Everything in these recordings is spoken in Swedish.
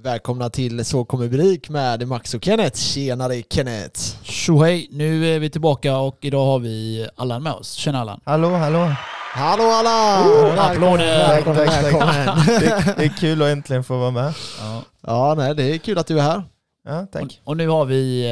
Välkomna till Så kommer Brik med Max och Kenneth. Tjenare Kenneth! Tjo hej, nu är vi tillbaka och idag har vi Allan med oss. Tjena Allan. Hallå, hallå. Hallå alla! applåder! Välkommen, Tack, tack, tack. välkommen! Det, det är kul att äntligen få vara med. Ja. Ja, nej, det är kul att du är här. Ja, Och, tack. och nu har vi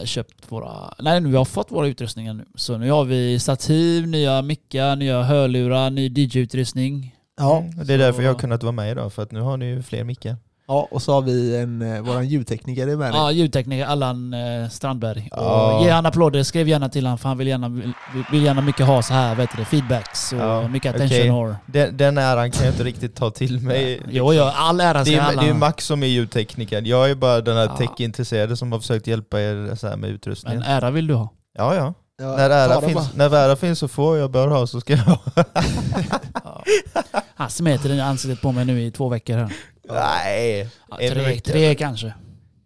eh, köpt våra, nej nu har vi fått våra utrustningar nu. Så nu har vi stativ, nya mickar, nya hörlurar, ny DJ-utrustning. Ja, Mm, Det är därför jag har kunnat vara med idag, för att nu har ni ju fler mickar. ja och så har vi en, eh, våran ljudtekniker är med Ja, ljudtekniker Allan eh, Strandberg. Ja. Och ge han applåder, skriv gärna till han för han vill gärna, vill, vill gärna mycket ha så här, vet du, feedbacks och Ja, mycket okej. attention. Or, Den, den äran kan jag inte riktigt ta till mig. jo, jo, all ära Det ska är, det är ju Allan ha. Max som är ljudtekniker. Jag är bara den här Ja. techintresserade som har försökt hjälpa er så här med Men utrustningen. ära vill du ha. Ja, ja. Ja, När ta ära, dem finns, när ära finns så får jag bör ha så ska jag ha. Han smeter i ansiktet på mig nu i två veckor här. Nej, Ja, En tre, vecka. tre kanske.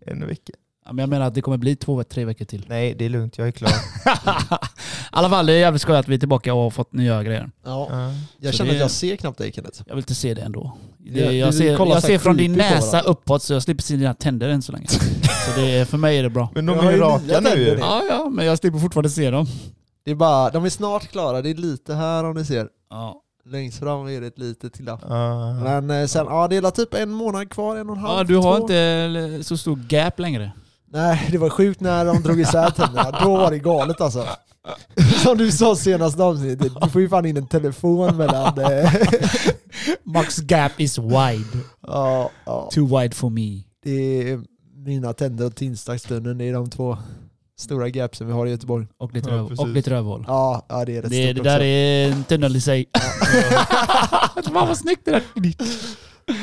en vecka. Ja, men jag menar att det kommer bli två, tre veckor till. Nej, det är lugnt. Jag är klar. I alla fall, det är jävligt skoj att vi är tillbaka och har fått nya grejer. bara. Ja, Ja. jag Så känner det- att jag ser knappt dig Kenneth. Jag vill inte se det ändå. Ja, Det, du jag ser, kollar jag så här ser från din creepy på näsa varandra. uppåt så jag slipper se dina tänder än så länge. Så det, är- för mig är det bra. Men Jag de har är ju ju nya raka nu tänder ju. nu. Ja, ja, men jag slipper fortfarande se dem. Det är bara, de är snart klara, det är lite här om ni ser. Ja, Längst fram är det ett litet glapp. Ja. Men eh, sen, ja det är typ en månad kvar, en och en halv, ja du har två. inte så stor gap längre. Nej, det var sjukt när de drog isär tänderna. Då var det galet alltså. Som du sa senaste avsnittet, du får ju fan in en telefon mellan... eh, Max gap is wide. Ja, ja. Too wide for me. Det är mina tänder och Tinsdagsstunden, det är de två stora gapsen vi har i Göteborg. Och ditt, Ja, röv, och precis. ditt rövhål. Ja, ja det är rätt Det, stort det där också. är en tunnel i sig. Fan vad snyggt det där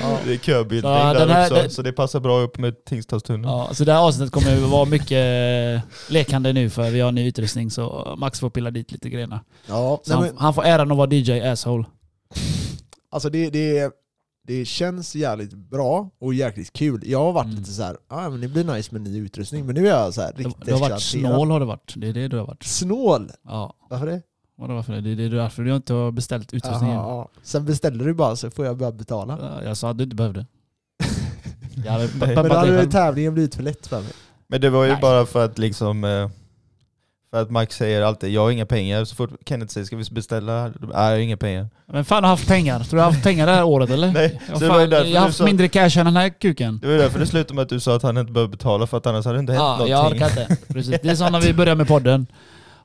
Ja. Det är köbildning Ja, den där här- också, den- så det passar bra upp med Tingstadstunneln. Mm. Ja, så det här avsnittet kommer ju vara mycket eh, lekande nu för vi har ny utrustning så Max får pilla dit lite grejerna. ja Så nej, han, men, han får äran att vara DJ asshole. alltså det, det, det känns jävligt bra och jäkligt kul. Jag har varit Mm. lite så här, ah, men det blir nice med ny utrustning, men nu är jag så här Du, riktigt du har varit exalterad. snål har du varit. Det är det du har varit. Snål? Ja, Varför det? vadå varför det? Det är det därför du inte har beställt utrustningen. Jaha, ja. Sen beställer du bara så får jag börja betala. Ja, Jag sa att du inte behövde. Jag hade pe- Men Men peppat då dig hade själv. tävlingen blivit för lätt för mig. Men det var ju Nej. bara för att liksom eh, för att Max säger alltid jag har inga pengar, så fort Kenneth säger ska vi beställa? Nej, jag har inga pengar. Men fan har haft pengar? Tror du jag har haft pengar det här året eller? Nej, jag, så det var ju fan, därför jag har du haft sa- mindre cash än den här kuken. Det var ju därför det slutade med att du sa att han inte behöver betala för att annars hade det inte hänt Ja, jag någonting. orkar inte. Precis. Det är som när vi började med podden.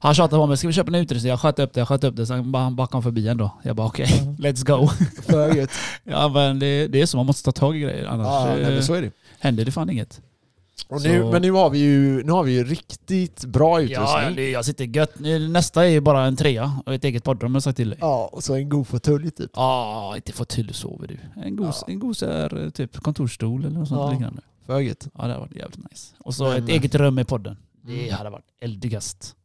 Han tjatade på mig, ska vi köpa en utrustning? Jag sköt upp det, jag sköt upp det. Sen bara, han bara kom förbi ändå. Jag bara okej, let's go. För gött. Ja men det, det är så, man måste ta tag i grejer annars Ja, eh, nej, men så är det. händer det fan inget. Och nu, Så- men nu har, vi ju, nu har vi ju riktigt bra utrustning. Ja, det, jag sitter gött. Nu- Nästa är ju bara en trea och ett eget poddrum har jag sagt till dig. Ja, Ja, och så en god fåtölj typ. inte fåtölj sover du. En gos, Ja. en gos är eh, typ kontorsstol eller något sånt Ja. liknande. För gött. Ja, det hade varit jävligt nice. Och så Men- ett eget rum i podden. Det hade varit eldigast.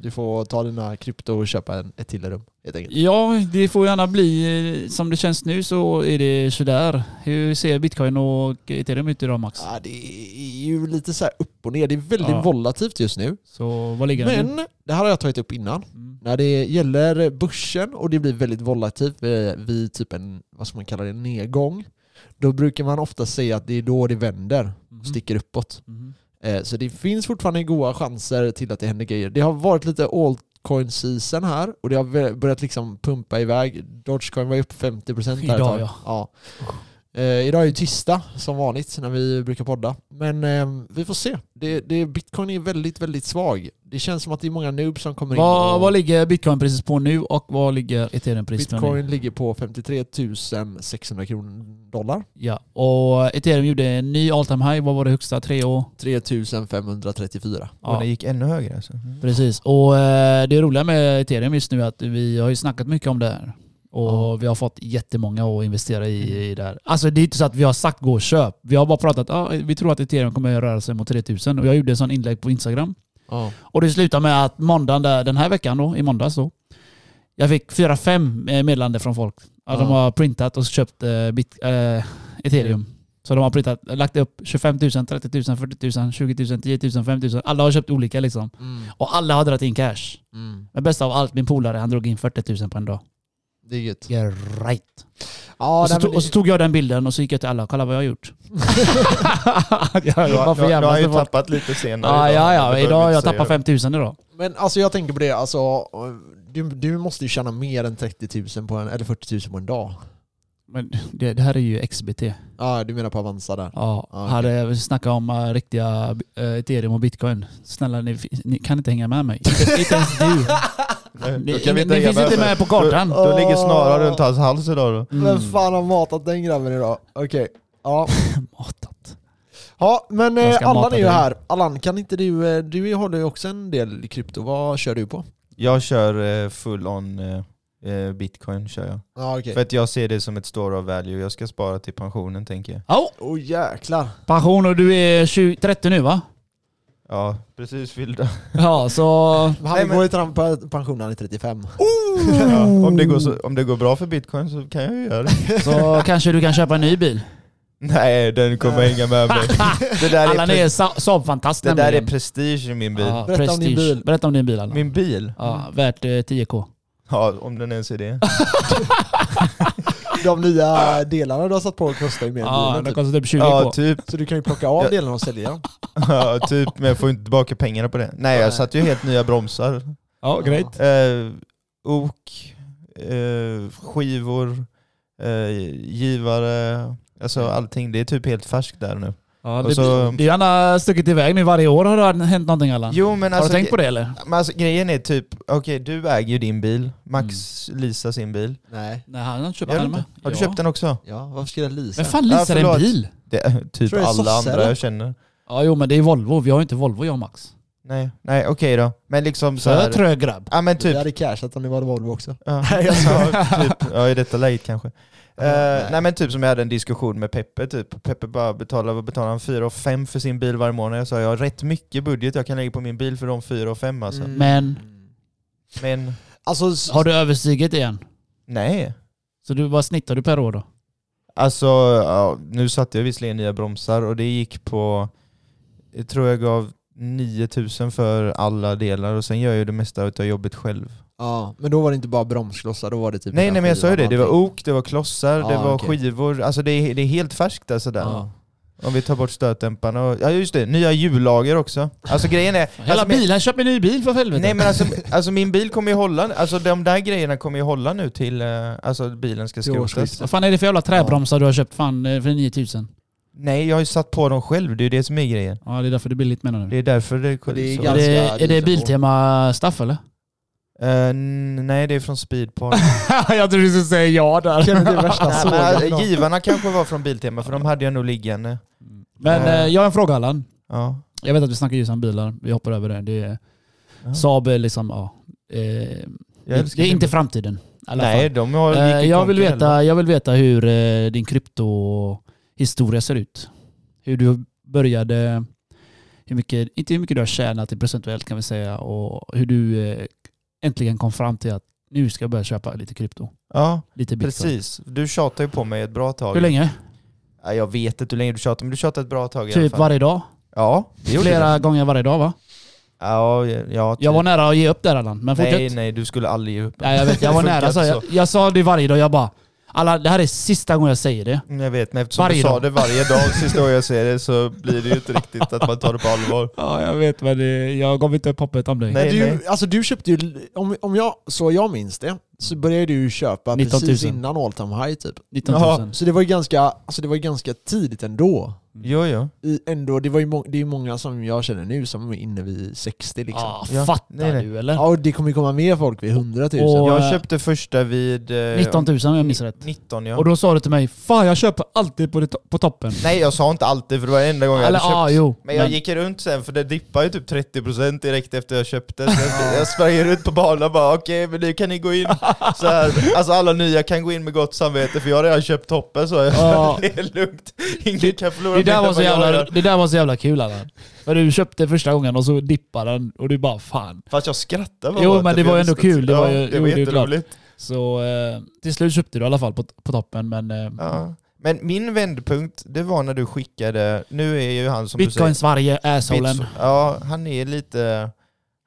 Du får ta dina krypto och köpa en, ett till rum helt enkelt. Ja, det får gärna bli eh, som det känns nu så är det sådär. Hur ser bitcoin och ethereum ut idag Max? Ja, det är ju lite så här upp och ner. Det är väldigt Ja. volatilt just nu. Så vad ligger den nu? Men det här har jag tagit upp innan. Mm. När det gäller börsen och det blir väldigt volatilt vid, vid typ en, vad ska man kalla det, nedgång. Då brukar man ofta säga att det är då det vänder Mhm. och sticker uppåt. Mhm. Eh, Så det finns fortfarande goda chanser till att det händer grejer. Det har varit lite altcoin season här och det har vä- börjat liksom pumpa iväg. Dogecoin var ju upp 50% här ett Idag, tag. ja. ja. Eh, idag är ju tisdag som vanligt när vi brukar podda. Men eh, vi får se. Det, det, Bitcoin är väldigt, väldigt svag. Det känns som att det är många noobs som kommer in. Vad, och vad ligger bitcoinpriset på nu och vad ligger ethereumpriset på nu? Bitcoin ligger på 53 600 kronor dollar. Ja, och ethereum gjorde en ny all time high. Vad var det högsta? Tre år? 3 534. Och Ja, Mm. det gick ännu högre alltså. precis. Och eh, det roliga med ethereum just nu är att vi har ju snackat mycket om det här. Och Ja. Mm. vi har fått jättemånga att investera i, i det här. Alltså det är inte så att vi har sagt gå och köp. Vi har bara pratat, ah, vi tror att ethereum kommer röra sig mot 3000. Och jag gjorde en sån inlägg på Instagram. Ja. Och det slutade med att måndagen där, den här veckan då, i måndags då, jag fick fyra, fem eh, meddelanden från folk. Ja. De Ja. har printat och köpt eh, bit, eh, ethereum. Så de har printat, lagt upp 25 000, 30 000, 40 000, 20 000, 10 000, 5 000. Alla har köpt olika liksom. Mm. Och alla har dragit in cash. Mm. Men bäst av allt, min polare han drog in 40 000 på en dag. Det är gött. You're right. Ja, och, så nej, men tog, och så det- tog jag den bilden och så gick jag till alla. Kolla vad jag har gjort. jag, Nu har- vad nu har- för nu har jävla jag ju support. tappat lite senare. Ja, idag. ja, Det ja. behöver Idag vi jag inte tappar säga. 5000 idag. men alltså jag tänker på det, alltså, du, du måste ju tjäna mer än 30 000 på en, eller 40 000 på en dag. Men det, det här är ju XBT. Ja, du menar på Avanza där? Ja, Ja, okej. hade jag snackat om äh, riktiga eh, ethereum och bitcoin. Snälla, ni, fi- ni kan inte hänga med mig. Inte, inte ens du. Nej, Ni, då ni, kan vi ni hänga finns inte med på kartan. Då, då ligger snaran runt hans hals idag då. Mm. Vem fan har matat den grabben idag? Okej. Ja. Matat. ja, men Jag eh, ska Allan mata är ju dig. här. Allan, kan inte du... eh, Du håller ju också en del i krypto. Vad kör du på? Jag kör eh, full on eh, eh, bitcoin kör jag. Ja, okej. För att jag ser det som ett store of value. Jag ska spara till pensionen tänker jag. Oh, Åh oh, jäklar. pension och du är 20, 30 nu va? Ja, precis fyllda. Ja, så... Han Nej, men- går ju till på pension när han är 35. Ja, om, det går så, om det går bra för bitcoin så kan jag ju göra det. Så kanske du kan köpa en ny bil. Nej, den kommer hänga med mig. Det där Alla är, ni pre- är Sa- Saab-fantast det där är nämligen. prestige i min bil. Ja, Berätta om din prestige. bil. Berätta om din bil Allan. Min bil? Ja, värt eh, 10k. Ja, om den ens är det. De nya delarna du har satt på kostar ju mer än Ja, bilen, typ. den kostar typ 20k. Ja, typ. Så du kan ju plocka av Ja. delarna och sälja dem. Ja, typ. Men jag får inte tillbaka pengarna på det. Nej, jag satte ju helt nya bromsar. ja, great. Eh, ok, eh, skivor, eh, givare, alltså Mm. allting. Det är typ helt färskt där nu. Ja, Och det, så- det är gärna stuckit iväg nu varje år. Har det hänt någonting Allan? Jo men har alltså, du tänkt på det eller? men alltså grejen är typ, okej du äger ju din bil, Max leasar sin bil. Nej. Nej, han har inte köpt Gör du den inte? med. Har du Ja. köpt den också? Mm. Typ Ja, varför ska jag leasa? Vem fan Ja, leasar förlåt. en bil? Det är Tror typ jag är alla sosse, andra eller? jag känner. Ja, jo men det är Volvo. Vi har ju inte Volvo jag och Max. Nej, nej okej då. Men liksom så Så här. trög grabb. Ja men Typ. typ. Jag hade cashat om det var Volvo också. Ja, Nej, jag ja, typ. ja i detta läget kanske. Eh, nej. nej. men typ som jag hade en diskussion med Peppe, typ. Peppe bara betalar, vad betalar han? 4 och fem för sin bil varje månad. Jag sa jag har rätt mycket budget jag kan lägga på min bil för de 4 och fem Mm. alltså. Men Men Alltså, s- har du överstigit igen? nej. Så du, vad snittar du per år då? Alltså ja, nu satte jag visserligen nya bromsar och det gick på, jag tror jag gav 9000 för alla delar och sen gör jag ju det mesta utav jobbet själv. Typ ja, men då var det inte bara bromsklossar, då var det typ... nej nej men jag sa ju det, det var energi- ok, det var klossar, det Ja, var Ah, okej. Ah. skivor, alltså det är, det är helt färskt alltså där. Ja. Om vi tar bort stötdämparna och, ja just det, nya hjullager också. Alltså grejen är... Hela alltså, min- bilen, köp en ny bil för helvete. Nej men alltså, alltså min bil kommer ju hålla, alltså de där grejerna kommer ju hålla nu till, eh, alltså bilen ska Till skrotas. årsskiftet. Vad fan är det för jävla träbromsar du har köpt fan eh, för 9000? Nej jag har ju satt på dem själv, det är ju det som är grejen. Ja, det är därför det är billigt menar Det du? är därför det... Och det är så- Är ganska- det, det är är det så. Biltema-staff eller? Eh, n- nej det är från Speedpark. jag trodde du skulle säga ja där. Känner du värsta nej, men, sågen? eh, givarna kanske var från Biltema för de hade jag nog liggande. Men Ja. eh, jag har en fråga Allan. Ja. Jag vet att vi snackar just om bilar, vi hoppar över det. det är, Ja. Saab är liksom, ja. Eh, Jag det älskar är din inte bil. framtiden. i alla fall. Nej de har, gick Eh, i jag, vill konken, eller? veta, jag vill veta hur eh, din kryptohistoria ser ut. Hur du började, hur mycket, inte hur mycket du har tjänat i procentuellt kan vi säga och hur du eh, äntligen kom fram till att nu ska jag börja köpa lite krypto. Ja Lite bitcoin. precis, du tjatar ju på mig ett bra tag. Hur länge? Ja, jag vet inte hur länge du tjatar men du tjatar ett bra tag i alla Typ fall. varje dag? Ja, det gjorde Flera du. gånger varje dag va? Ja, ja, typ. Jag var nära att ge upp där Allan, men fortsätt. Nej, nej, du skulle aldrig ge upp. Ja, jag, vet, jag var Det funkar nära. Så inte jag, jag sa det varje dag, jag bara Alla, det här är sista gången jag säger det. Mm, Jag vet, men eftersom Varje du sa dag. det varje dag sista gången jag ser det så blir det ju inte riktigt att man tar det på allvar. Ja, jag vet men jag gav inte upp hoppet om dig. Nej, Men du, nej. alltså du köpte ju, om, om jag, så jag minns det, så började du ju köpa 19 000. precis innan all time high typ. 19 000. Ja. Så det var ju ganska, alltså det var ju ganska tidigt ändå. Jo, jo. I, ändå det, var ju må, det är ju många som jag känner nu som är inne vid 60 liksom. Ah, Ja. fattar Nej, nej. du eller? Ja, och det kommer ju komma mer folk vid 100 000. Och- eh, Jag köpte första vid... eh, 19 000 om jag minns rätt. 19 ja. Och då sa du till mig, fan jag köper alltid på, det to- på toppen. Nej, jag sa inte alltid för det var enda gången Eller jag hade ja, köpt. jo. Men jag gick runt sen för det dippade ju typ 30% direkt efter jag köpte. Så jag, jag sprang ju runt på banan och bara okej, men nu kan ni gå in. Så här, alltså alla nya kan gå in med gott samvete för jag har redan köpt toppen så jag, Ja. det är lugnt. Ingen kan förlora det, där mer var än så vad jag jävla, gör. det där var så jävla kul Allan. För du köpte första gången och så dippade den och du bara fan. Fast jag skrattade bara Jo, åt men det för var jag ändå visste inte- kul. Det var ju- det var jo, det är klart. jätteroligt. Så eh, till slut köpte du i alla fall på, på toppen men eh, Ja. Men min vändpunkt, det var när du skickade, nu är ju han som du säger, bitcoin-Sverige, assholen. Bits- Ja, han är lite...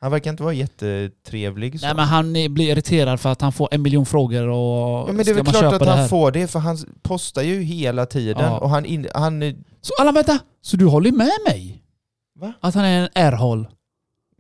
Han verkar inte vara jättetrevlig. Så. Nej men han är- blir irriterad för att han får en miljon frågor och ja, men det är ska väl man klart köpa att det här? han får det, för han postar ju hela tiden. Ja. Och han, in, han... är- Så alla vänta, så du håller med mig? Va? Att han är en ärhåll?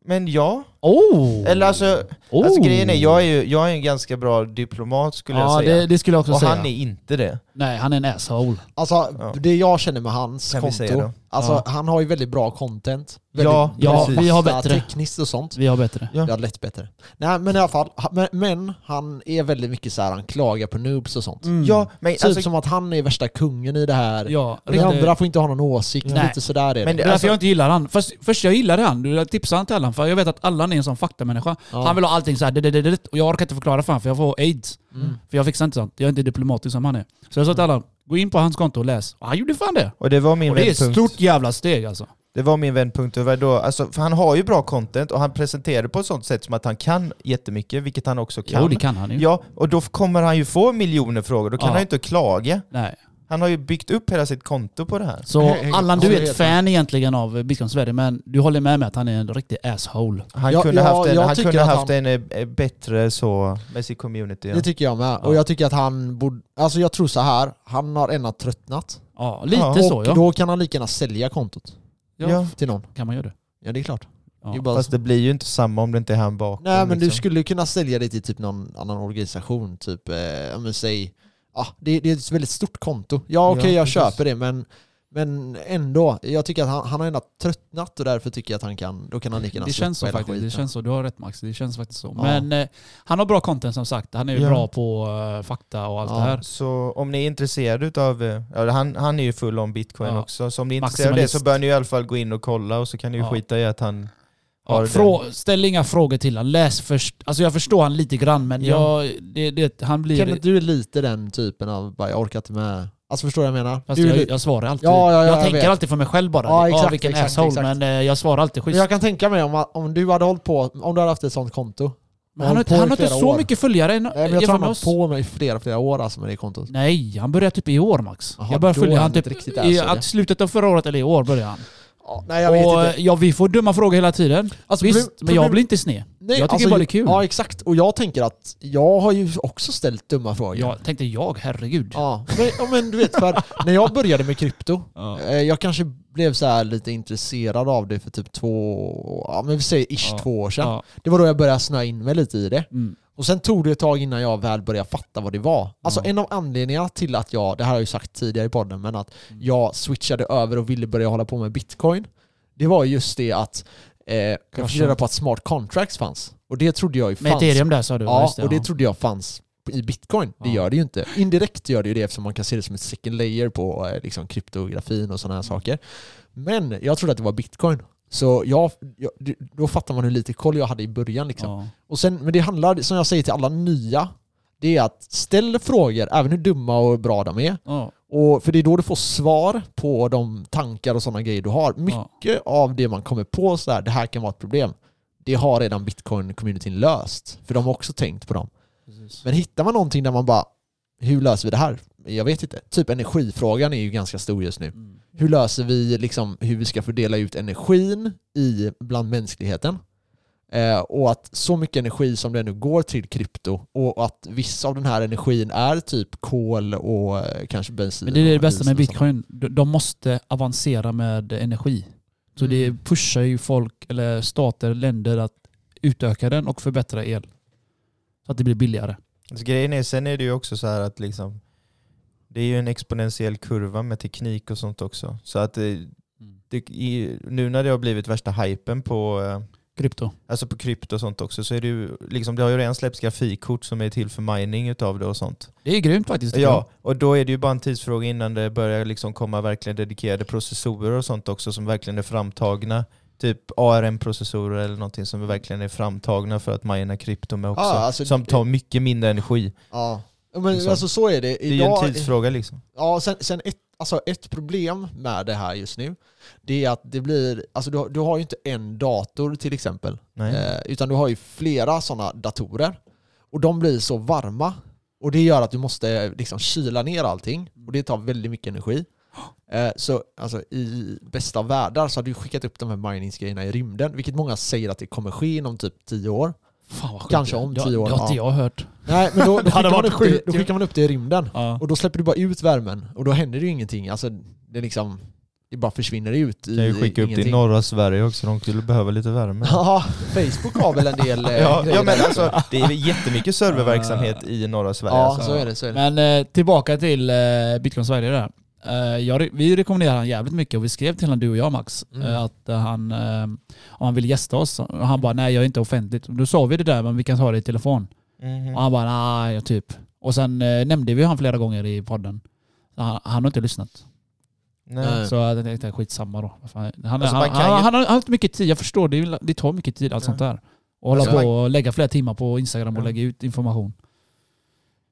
Men ja. Oh! Eller alltså, oh. alltså grejen är, jag är ju jag är en ganska bra diplomat skulle ja, jag säga. Det, det skulle jag också och säga. han är inte det. Nej, han är en asshole. Alltså Ja. det jag känner med hans Kan vi säga konto, då? alltså Ja. han har ju väldigt bra content. Väldigt Ja, Ja, precis. vi har bättre bättre. tekniskt och sånt. Vi har bättre. Ja. Jag hade lätt bättre. Nej men i alla fall, ha- men, men han är väldigt mycket så här, han klagar på noobs och sånt. Ja, men Typ alltså, som att han är värsta kungen i det här. Mm, Ja, Och de riktigt. andra får inte ha någon åsikt, Nej. lite sådär är det. Men alltså, Det är därför alltså, jag inte gillar han. Först, först jag gillade han, du tipsade han till Allan för jag vet att Allan är en sån faktamänniska. Ja. Han vill ha allting såhär, det, det, det, det, och jag orkar inte förklara för han för jag får aids. För jag fixar inte sånt. Jag är inte diplomatisk som han är. Så jag sa till Allan, gå in på hans konto och läs. Och han gjorde fan det. och det var min Och det är ett vändpunkt. stort jävla steg alltså. Det var min vändpunkt. Det var då, alltså, för han har ju bra content och han presenterar det på ett sånt sätt som att han kan jättemycket, vilket han också kan. Jo, det kan han ju. Ja, och då kommer han ju få miljoner frågor. Då kan Ja. han ju inte klaga. Nej. Han har ju byggt upp hela sitt konto på det här. Så Hej, hej. Allan, du Håller är ett helt fan egentligen av eh, Bitcoin Sverige, men du håller med mig att han är en riktig asshole. Han Ja, kunde ja, haft en, jag han tycker kunde att haft han- en eh, bättre så med sin community. Ja. Det tycker jag med. Och jag tycker att han borde... Alltså jag tror så här, han har ena tröttnat. Ja, lite Ja. så och ja. då kan han lika gärna sälja kontot Ja. Ja, till någon. Kan man göra det? Ja det är klart. Ja. Det är bara Fast det blir ju inte samma om det inte är han bakom. Nej men du liksom. skulle ju kunna sälja det till typ någon annan organisation, typ, eh, ja, men säg, ja det, det är ett väldigt stort konto. Ja okej Ja, jag precis. köper det men, men ändå, jag tycker att han, han har ändå tröttnat och därför tycker jag att han kan, då kan han lika gärna Det känns så släppa hela faktiskt. Det skiten. känns så. Du har rätt Max. Det känns faktiskt så. Ja. Men eh, han har bra content som sagt. Han är ju Ja. bra på eh, fakta och allt Ja. det här. Så om ni är intresserade av, eh, ja, han, han är ju full om bitcoin Ja. också, så om ni är intresserade av det så Maximalist. bör ni i alla fall gå in och kolla och så kan ni ju Ja. skita i att han har Ja, den. frå- ställ inga frågor till honom. Läs först. Alltså jag förstår han lite grann men Ja. jag, det, det, han blir... Kenneth, du är lite den typen av, bara, jag orkar inte med. Alltså förstår du vad jag menar? fast du, är jag, lite- jag svarar alltid. Ja, ja, ja, jag, jag tänker vet. alltid för mig själv bara. Ja, Ja, exakt, vilken exakt, asshole. exakt. Men eh, jag svarar alltid men schysst. jag kan tänka mig om, om du hade hållit på, om du hade haft ett sånt konto. Men han har, hållit på han i har inte flera så år. mycket följare än- Nej men jag jämfört tror han med har oss. hållit på med i flera, flera år alltså med det kontot. Nej, han började typ i år Max. Jaha, jag började då följa är han han typ inte riktigt i asshole, ja. att slutet av förra året eller i år började han. Ja, nej jag vet och inte. eh, ja, vi får döma frågor hela tiden. Alltså, Visst, problem- men jag problem- blir inte sned. Nej, alltså, jag tycker bara det är kul. Ja, exakt. Och jag tänker att jag har ju också ställt dumma frågor. Ja. Jag tänkte jag, herregud. men, ja, men du vet, för när jag började med krypto, Ja. eh, jag kanske blev så här lite intresserad av det för typ två, ja men vi säger ish Ja. två år sedan. Ja. Det var då jag började snöa in mig lite i det. Mm. Och sen tog det ett tag innan jag väl började fatta vad det var. Mm. Alltså en av anledningarna till att jag, det här har jag ju sagt tidigare i podden, men att Mm. jag switchade över och ville börja hålla på med bitcoin, det var just det att eh, jag fick Kanske. reda på att smart contracts fanns. Och det trodde jag ju Med fanns ethereum där sa du? Ja, just och det ja. trodde jag fanns i bitcoin. Det Ja. gör det ju inte. Indirekt gör det ju det eftersom man kan se det som ett second layer på eh, liksom, kryptografin och sådana Mm. här saker. Men jag trodde att det var bitcoin. Så jag, jag, det- då fattar man hur lite koll jag hade i början. Liksom. Ja. Och sen, men det handlar, som jag säger till alla nya, det är att ställ frågor, även hur dumma och bra de är. Ja. Och, för det är då du får svar på de tankar och sådana grejer du har. Mycket av det man kommer på så här, det här kan vara ett problem, det har redan bitcoin-communityn löst. För de har också tänkt på dem. Men hittar man någonting där man bara, hur löser vi det här? Jag vet inte. Typ energifrågan är ju ganska stor just nu. Mm. Hur löser vi liksom hur vi ska fördela ut energin i, bland mänskligheten? Eh, och att så mycket energi som det nu går till krypto och att viss av den här energin är typ kol och eh, kanske bensin. Men det är det och bästa med diesel och sånt. bitcoin. De de måste avancera med energi. Så Mm. det pushar ju folk, eller stater, länder att utöka den och förbättra el. Så att det blir billigare. Så grejen är, sen är det ju också så här att liksom, det är ju en exponentiell kurva med teknik och sånt också. Så att eh, Mm. det, i, nu när det har blivit värsta hypen på, eh, Krypto. alltså på krypto och sånt också, så är det ju, liksom, det har ju redan släppts grafikkort som är till för mining utav det och sånt. Det är grymt faktiskt. tycker jag. Ja, och då är det ju bara en tidsfråga innan det börjar liksom komma verkligen dedikerade processorer och sånt också som verkligen är framtagna. Typ ARM-processorer eller någonting som verkligen är framtagna för att mina krypto med också. Ja, alltså- som tar mycket mindre energi. Ja. Men Liksom. alltså så är det. Det är ju en Idag- tidsfråga liksom. Ja, sen, sen ett, alltså ett problem med det här just nu, det är att det blir, alltså du, har- du har ju inte en dator till exempel, Nej. eh, utan du har ju flera sådana datorer. Och de blir så varma, och det gör att du måste eh, liksom kyla ner allting, och det tar väldigt mycket energi. Eh, Så alltså, i bästa världar så har du skickat upp de här miningsgrejerna i rymden, vilket många säger att det kommer ske inom typ tio år. Fan vad sjukt. Kanske om Det- tio år, Det har inte ja. jag hört. Nej, men då, då, Det hade skickar, man varit upp det, sjukt då ju. skickar man upp det i rymden. Ja. Och då släpper du bara ut värmen och då händer det ju ingenting. Alltså, det, liksom, det bara försvinner ut i Kan ju skicka upp det i ingenting. norra Sverige också, de skulle behöva lite värme. Ja, Facebook har väl en del eh, Ja, grejer ja men där. alltså det är jättemycket serververksamhet i norra Sverige. Ja, alltså. så är det. Så är det. Men eh, tillbaka till eh, Bitcoin Sverige där. Eh, jag, re- vi rekommenderar han jävligt mycket och vi skrev till honom, du och jag Max, Mm. eh, att eh, han, eh, om han vill gästa oss. Och han bara nej jag är inte offentligt. Då sa vi det där men vi kan ta det i telefon. Mhm. Och han bara nej jag typ. Och sen eh, nämnde vi honom flera gånger i podden. Så Han, han har inte lyssnat. Nej. Nej. Så jag tänkte skitsamma då. Vad fan. Han, Eh. Alltså, han, man han, kan han, ju- har haft mycket tid, jag förstår. Det, är- det tar mycket tid allt Ja. sånt där. Och hålla Alltså, på och lägga flera timmar på Instagram och Ja. lägga ut information.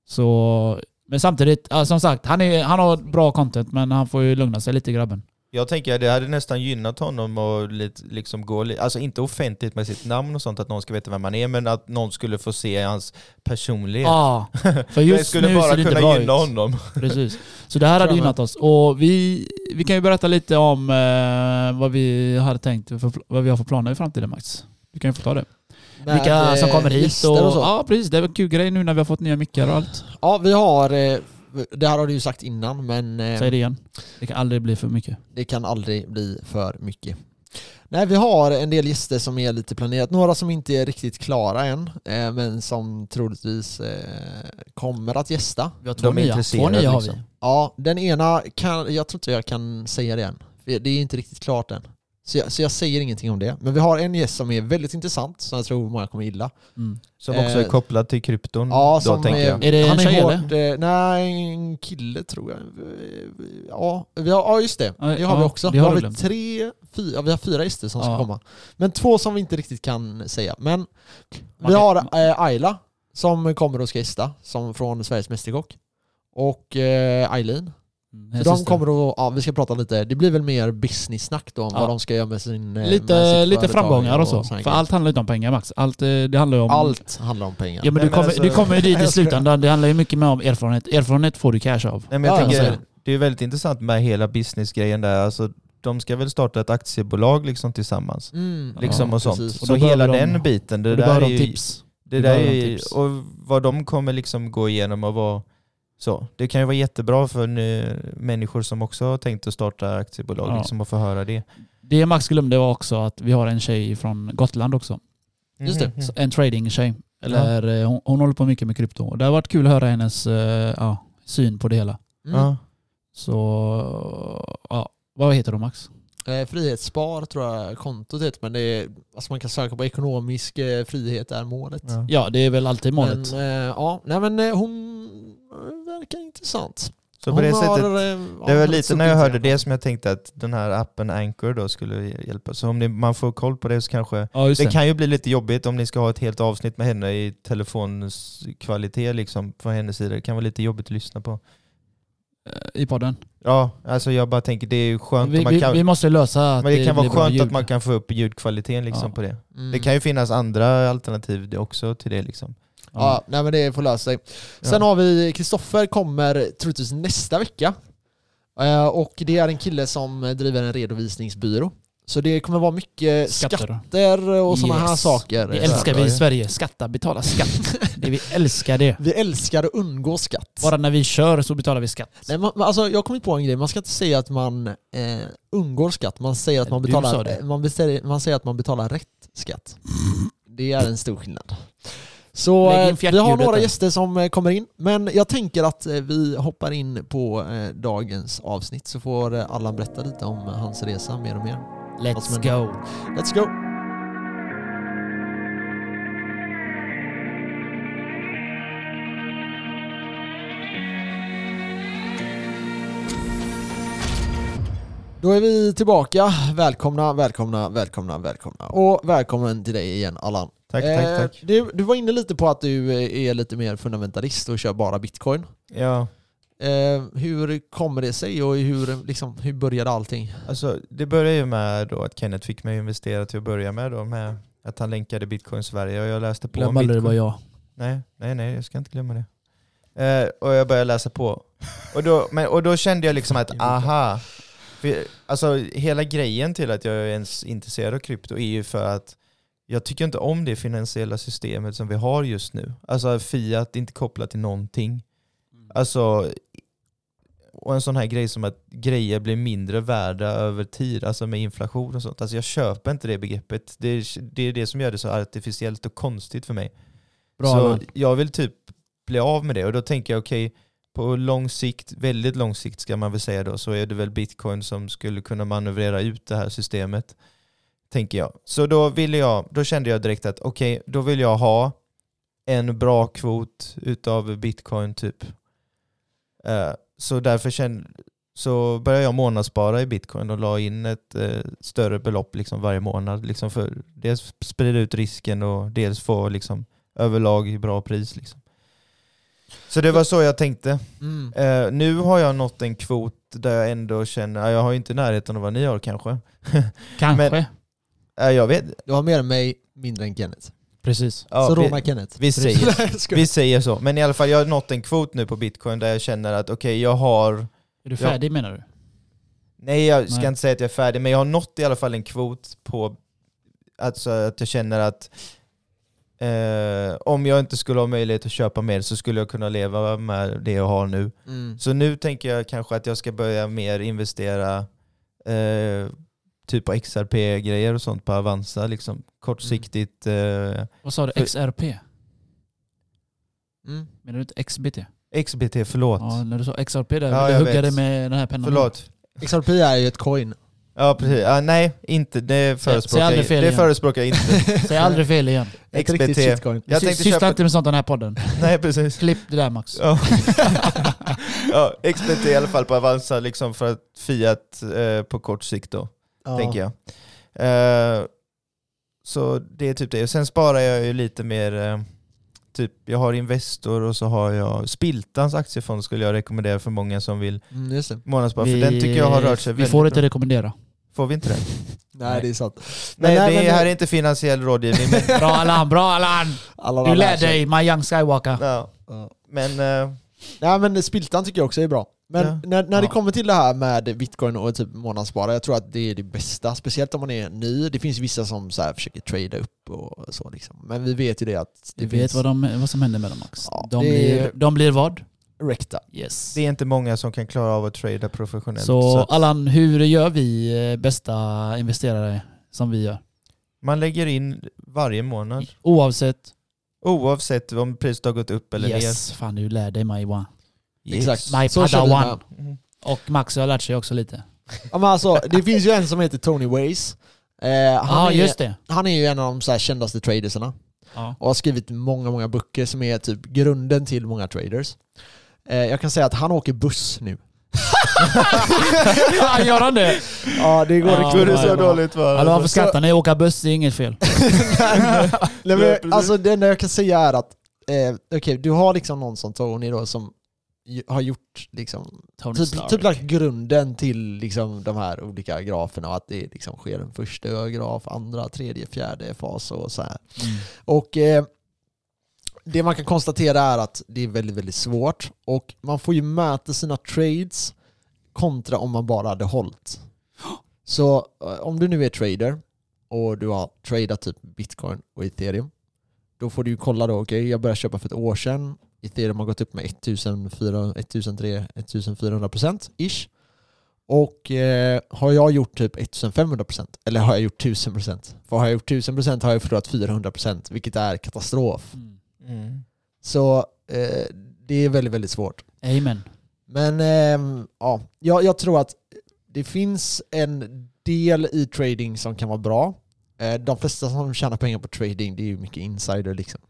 Så, men samtidigt, ja, som sagt, han, är, han har bra content men han får ju lugna sig lite grabben. Jag tänker att det hade nästan gynnat honom att lite, liksom gå, li- alltså inte offentligt med sitt namn och sånt, att någon ska veta vem man är, men att någon skulle få se hans personlighet. Ja, för det just skulle nu bara ser det inte kunna bra gynna ut. honom. Precis. Så det här hade Framme. gynnat oss. Och vi, vi kan ju berätta lite om eh, vad vi hade tänkt, för, vad vi har för planer i framtiden Max. Du kan ju få ta det. Med, Vilka som eh, kommer hit gäster och, så. Ja precis, det var kul grej nu när vi har fått nya mickar och allt. Ja, vi har... eh, Det här har du ju sagt innan, men eh, Säg det igen. Det kan aldrig bli för mycket. det kan aldrig bli för mycket. Nej, vi har en del gäster som är lite planerat. Några som inte är riktigt klara än, eh, men som troligtvis eh, kommer att gästa. Vi har två De är nya. Två intresserade, nya har vi. liksom. Ja, den ena kan... Jag tror inte jag kan säga det än. för Det är inte riktigt klart än. Så jag, så jag säger ingenting om det. Men vi har en gäst som är väldigt intressant, som jag tror många kommer gilla. Mm. Som också Eh, är kopplad till krypton. Ja, Mm. då, som tänker jag. Är det en han tjej, hårt, eh, Nej, en kille tror jag. Eh, Ja, vi har, ja just det. Ja, Det har vi ja, också. det Vi har har väl du glömt. tre, fyra, ja, vi har fyra gäster som ska Ja. komma. Men två som vi inte riktigt kan säga. Men Man vi kan- har eh, Ayla som kommer och ska gästa, som från Sveriges Mästerkock. Och eh, Eileen. Mm, Så hennes de syster. kommer och, ja, vi ska prata lite, det blir väl mer business-snack då om Ja. vad de ska göra med sin... eh, med Lite, sitt lite företag framgångar och såna så. För grejer. allt handlar inte om pengar Max. Allt, eh, det handlar ju om... Allt handlar om pengar. Ja, men du, Nej, men kommer, alltså- du kommer ju dit i Jag skojar. slutändan. Det handlar ju mycket mer om erfarenhet. Erfarenhet får du cash av. Nej, men jag Ja, tänker, alltså. det är väldigt intressant med hela businessgrejen där. Alltså, de ska väl starta ett aktiebolag liksom tillsammans. Mm. Liksom Ja, och sånt. precis. Så Och då hela behöver de- den biten, det Och du där behöver är de ju, tips. det Du där behöver är de ju, tips. och vad de kommer liksom gå igenom och vad så. Det kan ju vara jättebra för nu, människor som också har tänkt att starta aktiebolag Ja. liksom att få höra det. Det Max glömde var också att vi har en tjej från Gotland också. Just det. Mhm. Så En trading-tjej. Eller, eh, hon, hon håller på mycket med krypto. Och Det har varit kul att höra hennes eh, ja, syn på det hela. Mm. Ja. Så, ja. Vad heter de Max? Eh, frihetsspar tror jag kontot heter, men det är, alltså man kan söka på ekonomisk eh, frihet är målet. Ja. Ja, det är väl alltid målet. Men, eh, ja, nej men eh, hon eh, verkar intressant. Så på hon det sättet, eh, det ja, var ett lite stort när jag hörde Instagram. det som jag tänkte att den här appen Anchor då skulle hjälpa. Så om ni, man får koll på det så kanske Ja, just Det det. kan ju bli lite jobbigt om ni ska ha ett helt avsnitt med henne i telefonskvalitet liksom från hennes sida. Det kan vara lite jobbigt att lyssna på. I podden. Ja, alltså jag bara tänker det är ju skönt Vi, om man vi, kan, vi måste lösa att men det kan blir vara bra skönt ljud. att man kan få upp ljudkvaliteten liksom Ja. på det. Mm. Det kan ju finnas andra alternativ det också till det liksom. Mm. Ja, nej men det får lösa sig. Sen Ja. har vi Kristoffer kommer troligtvis nästa vecka. Eh, Och det är en kille som driver en redovisningsbyrå. Så det kommer vara mycket skatter, Skatter. och sådana här Yes. saker. Eh, Det älskar vi i Sverige. Skatta, betala skatt. det, vi älskar det. Vi älskar att undgå skatt. Bara när vi kör så betalar vi skatt. Nej, man, man- alltså, jag har kommit på en grej, man ska inte säga att man eh, undgår skatt, man säger, att man, Du sa betalar, det. eh, man, beställer, man säger att man betalar rätt skatt. Det är en stor skillnad. Så Lägg in eh, vi har fjärthjulet några där. gäster som eh, kommer in, men jag tänker att eh, vi hoppar in på eh, dagens avsnitt så får eh, Allan berätta lite om eh, hans resa mer och mer. Vad som Let's go. Let's go! Då är vi tillbaka. Välkomna, välkomna, välkomna, välkomna. Och välkommen till dig igen Allan. Tack, Eh, tack, tack. Du, du var inne lite på att du eh, är lite mer fundamentalist och kör bara bitcoin. Ja. Eh, hur kommer det sig och hur, liksom, hur började allting? Alltså, det började ju med då att Kenneth fick mig att investera till att börja med då med att han länkade Bitcoin Sverige och jag läste på Glöm aldrig det var jag. Nej, nej, nej, jag ska inte glömma det. Eh, och jag började läsa på. Och då, men, och då kände jag liksom att aha. För, alltså hela grejen till att jag är ens intresserad av krypto är ju för att jag tycker inte om det finansiella systemet som vi har just nu. Alltså fiat är inte kopplat till någonting. Alltså, och en sån här grej som att grejer blir mindre värda över tid, alltså med inflation och sånt. Alltså jag köper inte det begreppet. Det är det, är det som gör det så artificiellt och konstigt för mig. Bra, så Anna. jag vill typ bli av med det och då tänker jag okej, på lång sikt, väldigt lång sikt ska man väl säga då, så är det väl bitcoin som skulle kunna manövrera ut det här systemet. Tänker jag. Så då, ville jag, då kände jag direkt att okej, då vill jag ha en bra kvot utav bitcoin typ. Eh, så därför kände, så började jag månadsspara i bitcoin och la in ett eh, större belopp liksom varje månad. Liksom för dels sprida ut risken och dels få liksom, överlag bra pris. Liksom. Så det var så jag tänkte. Mm. Eh, nu har jag nått en kvot där jag ändå känner, ja, jag har ju inte närheten av vad ni har kanske. Kanske. Eh, jag vet, Du har mer än mig, mindre än Kenneth. Precis. ja, så vi, råna Kenneth. vi, säger, Nej, jag skojar. vi säger så. Men i alla fall, jag har nått en kvot nu på bitcoin där jag känner att okej, jag har Är du färdig menar du? Nej jag ska Nej. inte säga att jag är färdig, men jag har nått i alla fall en kvot på alltså, att jag känner att eh, om jag inte skulle ha möjlighet att köpa mer så skulle jag kunna leva med det jag har nu. Mm. Så nu tänker jag kanske att jag ska börja mer investera eh, typ på XRP-grejer och sånt på Avanza. Liksom. Kortsiktigt. Eh, Vad sa du? För- XRP? Mm. Menar du inte XBT? XBT, förlåt. Ja, när du sa XRP där, Ja, ja, jag jag huggade vet. med den här pennan. förlåt. XRP är ju ett coin. Ja, precis. Ja, nej, inte. det förespråkar aldrig jag, fel det igen. förespråkar jag inte. Säg aldrig fel igen. Ett riktigt XBT. shitcoin. Jag Sy- tänkte Syssla köpa... inte med sånt i den här podden. Nej, precis. Klipp det där Max. Ja. ja, XBT i alla fall på Avanza liksom för att Fiat eh, på kort sikt då, Ja. tänker jag. Eh, så det är typ det. Och sen sparar jag ju lite mer, eh, typ jag har Investor och så har jag Spiltans aktiefond skulle jag rekommendera för många som vill Mm, just det. månadsspara, för den tycker jag har rört sig Vi väldigt får bra. inte rekommendera. Får vi inte det? Nej, det är sant. Nej, nej, det men- här är inte finansiell rådgivning. Men, Bra Allan, bra Allan! Alla Du lär lär sig. dig, my young skywalker. ja. Ja. men eh, Nej men spiltan tycker jag också är bra. Men Ja. när, när det Ja. kommer till det här med bitcoin och typ månadsspara, jag tror att det är det bästa. Speciellt om man är ny. Det finns vissa som så här försöker trada upp och så liksom. Men vi vet ju det att det Du finns vet vad, de, vad som händer med dem Max. Ja, de, det- blir, de blir vad? rekta. Yes. det är inte många som kan klara av att trada professionellt. Så att- Allan, hur gör vi eh, bästa investerare som vi gör? Man lägger in varje månad. Oavsett. Oavsett om priset har gått upp eller yes. Fan du lär dig my one. ner. Exakt. My Så känner padawan. jag. Mm. Och Max har lärt sig också lite. Ja, men alltså, det finns ju en som heter Tony Ways. Eh, Ja, han, är, just det. han är ju en av de så här kändaste tradersarna. Ja. och har skrivit många, många böcker som är typ grunden till många traders. Eh, jag kan säga att han åker buss nu. Fan, gör han det? Ja, det går Ja, riktigt Går det ja, så ja. dåligt va? Hallå, varför skrattar ni? Åka buss, det är inget fel. Nej, Ja, men, precis. alltså det enda jag kan säga är att, eh, okej, du har liksom någon som Tony då som ju- har gjort liksom, Tony typ, Stark. typ lagt grunden till liksom de här olika graferna och att det liksom sker en första graf, andra, tredje, fjärde fas och så här. Mm. Och eh, det man kan konstatera är att det är väldigt, väldigt svårt och man får ju mäta sina trades kontra om man bara hade hållit. Så eh, om du nu är trader och du har tradat typ bitcoin och ethereum, då får du ju kolla då, okej jag började köpa för ett år sedan, ethereum har gått upp med 1400-1400% ish. Och eh, har jag gjort typ 1500% eller har jag gjort 1000%? För har jag gjort 1000% har jag förlorat 400% vilket är katastrof. Mm. Mm. Så eh, det är väldigt, väldigt svårt. Amen. Men ehm, ja, jag, jag tror att det finns en del i trading som kan vara bra. Eh, de flesta som tjänar pengar på trading det är ju mycket insider liksom.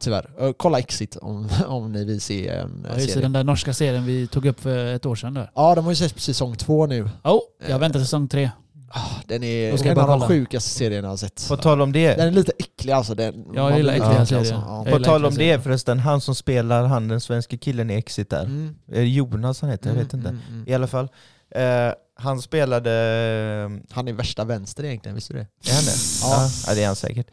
Tyvärr. Eh, kolla Exit om, om ni vill se en Ja, eh, just det, serie. den där norska serien vi tog upp för ett år sedan där. Ja, de har ju sett säsong två nu. Oh, jag väntar säsong tre. Ah, Den Då är ska jag en bara av de kolla. sjukaste serierna jag har sett. På tal om det. Den är lite äcklig alltså. Den, Ja, jag man gillar blir äckliga äcklig alltså. serier. Ja. Jag På gillar tal om verkligen det så. förresten, han som spelar han den svenska killen i Exit där. Mm, Är det Jonas han heter? jag vet mm, inte. mm, mm. I alla fall. Eh, han spelade... Han är värsta vänster egentligen, visste du det? Är han det? Ja. Ja. ja, det är han säkert.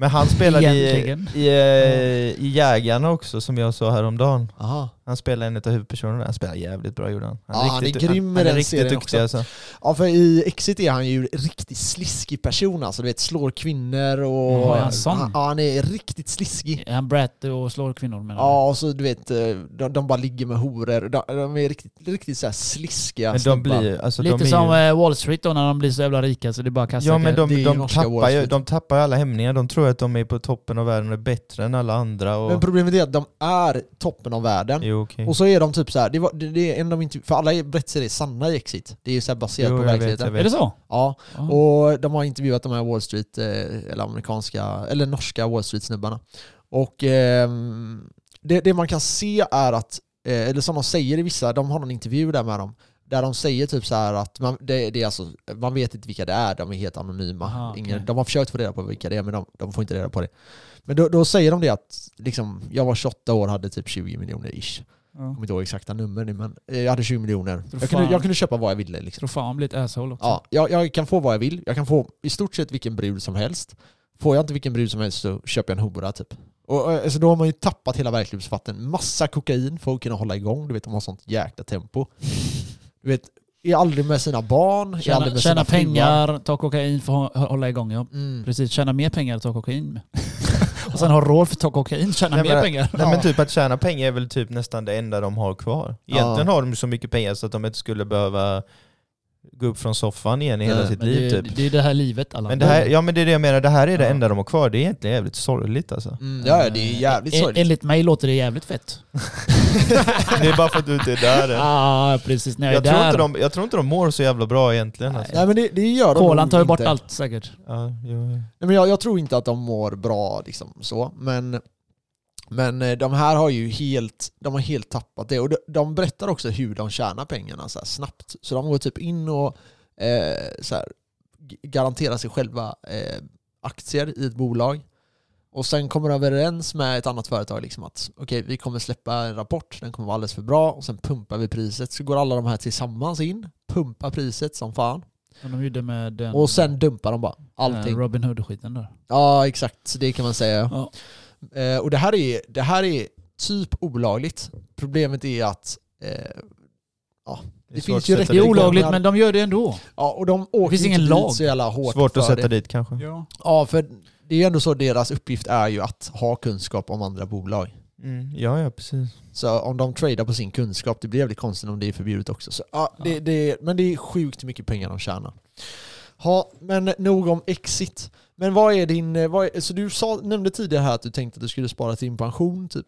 Men han spelade i, Egentligen. i, eh, i Jägarna också som jag såg häromdagen. Aha. Han spelar en av huvudpersonerna. Han spelar jävligt bra gjorde han. Ja, han är grym med han, han är den riktigt serien duktig alltså. Ja, för i Exit är han ju en riktigt sliskig person alltså. Du vet, slår kvinnor och... Jaha, är han sån? Ja, han är riktigt sliskig. Är han brat och slår kvinnor menar du? Ja, och så du vet, eh, de, de bara ligger med horor. De, de är riktigt, riktigt så här sliskiga Men de snubbar. blir ju- alltså, de Lite är som ju, eh, Wall Street då när de blir så jävla rika så det är bara kastar Ja men det är de, ju de, norska Wall tappar ju, Street. de tappar ju alla hämningar. De tror att de är på toppen av världen och är bättre än alla andra. Och, Men problemet är att de är toppen av världen. jo, okej. Och så är de typ så här, det, var, det, det är en av inte, för alla berättelser är sanna i Exit. Det är ju så här baserat Jo, på jag vet, verkligheten. jag vet. Är det så? Ja, Ja. och de har intervjuat de här Wall Street, eh, eller amerikanska, eller norska Wall Street-snubbarna. Och ehm, det, det man kan se är att, eh, eller som de säger i vissa, de har någon intervju där med dem, där de säger typ så här att man, det, det är alltså, man vet inte vilka det är, de är helt anonyma. Aha, okej. Ingen, de har försökt få reda på vilka det är, men de, de får inte reda på det. Men då, då säger de det att, liksom, jag var 28 år hade typ 20 miljoner ish. Jag kommer inte ihåg exakta nummer nu, men eh, jag hade 20 miljoner. Tror Jag kunde, fan. jag kunde köpa vad jag ville liksom. Jag tror fan han blir ett asshole också. Ja, jag, jag kan få vad jag vill. Jag kan få i stort sett vilken brud som helst. Får jag inte vilken brud som helst så köper jag en hora typ. Och, och, alltså, då har man ju tappat hela verklighetsuppfattningen. Massa kokain för att kunna hålla igång. Du vet, de har sånt jäkla tempo. Du vet, är aldrig med sina barn, är aldrig Tjäna, med sina tjäna fruar. pengar, ta kokain för att hå- hålla igång ja. Mm. Precis, tjäna mer pengar och ta kokain. och sen ha råd för att ta kokain, tjäna Nej, mer men- pengar. Nej men typ att tjäna pengar är väl typ nästan det enda de har kvar. Egentligen Ja. har de ju så mycket pengar så att de inte skulle behöva gå upp från soffan igen i hela Nej, sitt Men liv det, typ. det är det här livet alla. Men det här, ja men det är det jag menar, det här är det Ja. enda de har kvar. Det är egentligen jävligt sorgligt alltså. Mm, ja, det är jävligt Eh, En- sorgligt. Enligt mig låter det jävligt fett. Det är bara för att du inte är där än. ah, precis. När jag, är Jag tror, där. inte de, jag tror inte de mår så jävla bra egentligen. Nej. Alltså. Nej men det, det gör de Kolan nog tar ju bort inte. allt säkert. Ja, jo, jo. Nej, men jag, jag tror inte att de mår bra liksom så, men, men eh, de här har ju helt, de har helt tappat det. Och de, de berättar också hur de tjänar pengarna så här snabbt. Så de går typ in och eh, så här, g- garanterar sig själva eh, aktier i ett bolag. Och sen kommer de överens med ett annat företag liksom att okej, vi kommer släppa en rapport, den kommer vara alldeles för bra och sen pumpar vi priset. Så går alla de här tillsammans in, pumpar priset som fan Som de gjorde med den, och sen dumpar de bara Mm. eh, allting. Robin Hood-skiten där. Ja, exakt. Så det kan man säga. Ja. Eh, och det här, är, det här är typ olagligt. Problemet är att eh, Det, är Det svårt finns ju att rätt- sätta Det är dit- olagligt men de gör det ändå. ja, och de åker finns ju ingen inte lag. dit så jävla hårt Svårt för att sätta det. dit kanske. Ja, för det är ju ändå så deras uppgift är ju att ha kunskap om andra bolag. Mm, ja, ja precis. Så om de tradar på sin kunskap, det blir jävligt konstigt om det är förbjudet också. Så, ja, det, Ja. det, men det är sjukt mycket pengar de tjänar. Ja, men nog om exit. Men vad är din... eh, Vad är, så du sa, nämnde tidigare här att du tänkte att du skulle spara till din pension typ.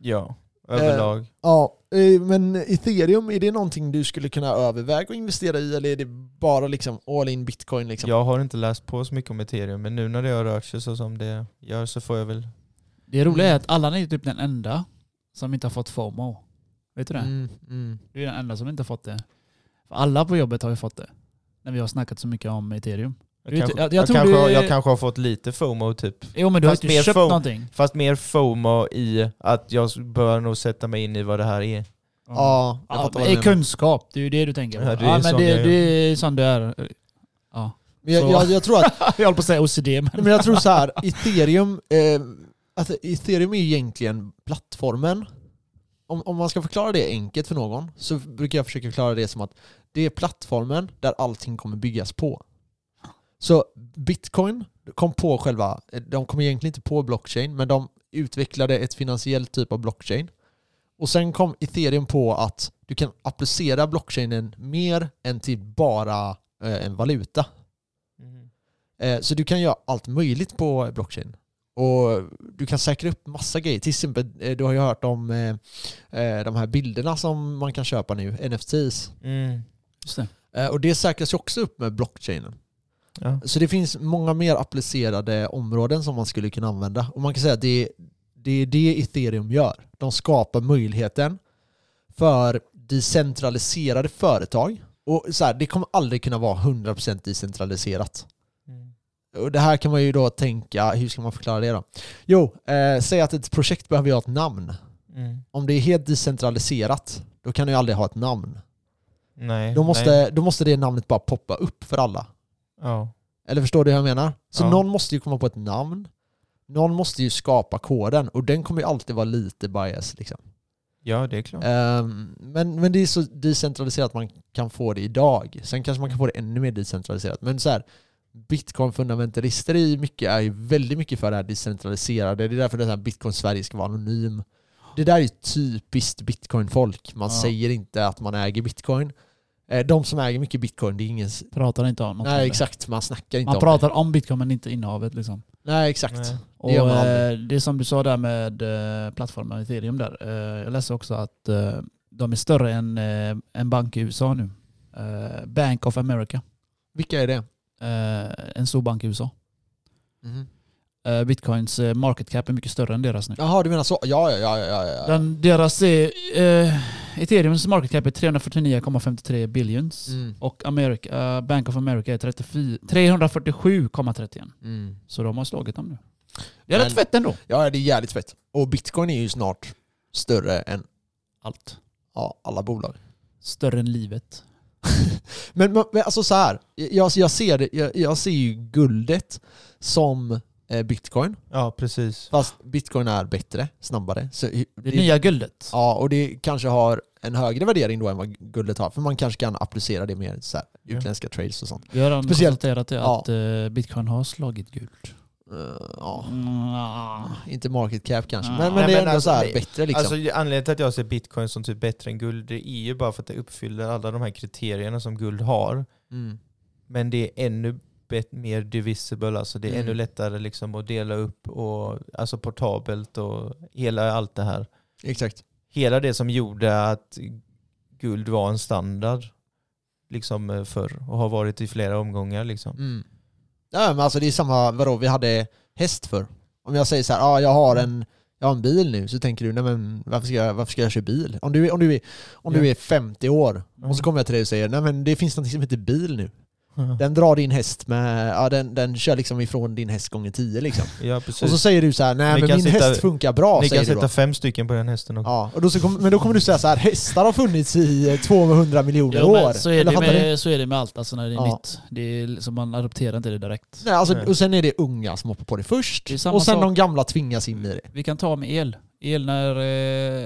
Ja, överlag. Ja, eh, men ethereum, är det någonting du skulle kunna överväga att investera i eller är det bara liksom all in bitcoin? Liksom? Jag har inte läst på så mycket om ethereum men nu när det har rört sig så som det gör så får jag väl... Det roliga är att Allan är ju typ den enda som inte har fått FOMO. Vet du det? Mm, mm. Du är den enda som inte har fått det. För alla på jobbet har ju fått det. När vi har snackat så mycket om ethereum. Jag Du vet, kanske, jag- jag, jag tror kanske, du- har- jag kanske har fått lite FOMO typ. Jo men du Fast har ju mer inte köpt FOMO. någonting. Fast mer FOMO i att jag bör nog sätta mig in i vad det här är. Ja, jag Ja, fattar vad men det du är menar. kunskap, det är ju det du tänker på. Ja, Ja, det är men sån jag det, är. det är sån du är. Ja. Men jag, så- jag, jag, tror att, Jag håller på att säga OCD men... nej, men jag tror så här, ethereum, eh, att ethereum är ju egentligen plattformen. Om, om man ska förklara det enkelt för någon så brukar jag försöka förklara det som att det är plattformen där allting kommer byggas på. Så bitcoin kom på själva, eh, de kom egentligen inte på blockchain, men de utvecklade ett finansiellt typ av blockchain. Och sen kom ethereum på att du kan applicera blockchainen mer än till bara eh, en valuta. Mm. Eh, Så du kan göra allt möjligt på blockchain. Och du kan säkra upp massa grejer. Till exempel, eh, du har ju hört om eh, eh, de här bilderna som man kan köpa nu, NFTs. Mm. Just det. Eh, Och det säkras ju också upp med blockchainen. Ja. Så det finns många mer applicerade områden som man skulle kunna använda. Och man kan säga att det, det är det ethereum gör. De skapar möjligheten för decentraliserade företag. Och så här, det kommer aldrig kunna vara 100% decentraliserat. Mm. Och det här kan man ju då tänka, hur ska man förklara det då? Jo, eh, säg att ett projekt behöver ju ha ett namn. Mm. Om det är helt decentraliserat, då kan du ju aldrig ha ett namn. Nej. Då Nej. måste, då måste det namnet bara poppa upp för alla. Ja. Eller förstår du hur jag menar? Så Ja. någon måste ju komma på ett namn. Någon måste ju skapa koden och den kommer ju alltid vara lite bias. Liksom. Ja, det är klart. Ehm, men, men det är så decentraliserat man kan få det idag. Sen kanske man kan få det ännu mer decentraliserat. Men så här, bitcoin-fundamentalister i mycket är ju väldigt mycket för det här decentraliserade. Det är därför det här bitcoin-Sverige ska vara anonym. Det där är ju typiskt bitcoin-folk. Man Ja. säger inte att man äger bitcoin. Eh, De som äger mycket bitcoin, det är ingen... Pratar inte om något. om Nej det. exakt, man snackar inte Man om pratar om bitcoin men inte innehavet liksom. det. Nej exakt. Nej. Och gör man det, eh, det som du sa där med eh, plattformen ethereum där. Eh, jag läste också att eh, de är större än eh, en bank i USA nu. Eh, Bank of America. Vilka är det? Eh, en stor bank i USA. Mhm. Eh, Bitcoins eh, market cap är mycket större än deras nu. Jaha, du menar så? Ja, ja, ja, ja, ja. ja. Den, deras är, eh, Ethereums market cap är 349,53 billions. Mm. Och America, eh, Bank of America är 34 347,31. Mm. Så de har slagit dem nu. Det är Men- rätt fett ändå. Ja, det är jävligt fett. Och bitcoin är ju snart större än Allt. ja, alla bolag. Större än livet. Men, men men alltså så här, jag, jag, ser, det- jag, jag ser ju guldet som eh, bitcoin. Ja, precis. Fast bitcoin är bättre, snabbare. Så, det, Det nya guldet. Ja, och det kanske har en högre värdering då än vad guldet har. För man kanske kan applicera det mer så här, Ja. utländska trades och sånt. Vi har redan Speciellt- konstaterat det ja. att eh, bitcoin har slagit guld. Eh, ja, Mm, ah. inte market cap kanske. Ja. Men, men Nej, det är men ändå alltså, så här det- bättre liksom. Alltså, anledningen till att jag ser bitcoin som typ bättre än guld det är ju bara för att det uppfyller alla de här kriterierna som guld har. mm. Men det är ännu bet- mer divisible, alltså det är Mm. ännu lättare liksom att dela upp och alltså portabelt och hela allt det här. Exakt. Hela det som gjorde att guld var en standard liksom eh, förr och har varit i flera omgångar liksom. Mm. Ja, men alltså det är samma, vadå, vi hade häst för Om jag säger så här, ah, jag har en jag har en bil nu, så tänker du, nej men varför ska jag, varför ska jag köra bil? Om du, är- om du, är, om du Ja. är 50 år Mm. och så kommer jag till dig och säger, nej men det finns något som heter bil nu. Den drar din häst med, ja, den, den kör liksom ifrån din häst gånger 10 liksom. Ja, Och precis. så säger du så här, nej Ni men kan min sitta- häst funkar bra, Ni säger kan du sätta då. fem stycken på den hästen också. Ja, och då så kommer, men då kommer du säga så här, hästar har funnits i eh, 200 miljoner Jo, år. men så, är Eller det fattar du? med, så är det med allt alltså när det är Ja. nytt. Det är liksom, man adopterar inte det direkt. Nej, alltså, Nej. och sen är det unga som hoppar på det först, Det är samma och sen sak. de gamla tvingas in i det. Vi kan ta med el. El när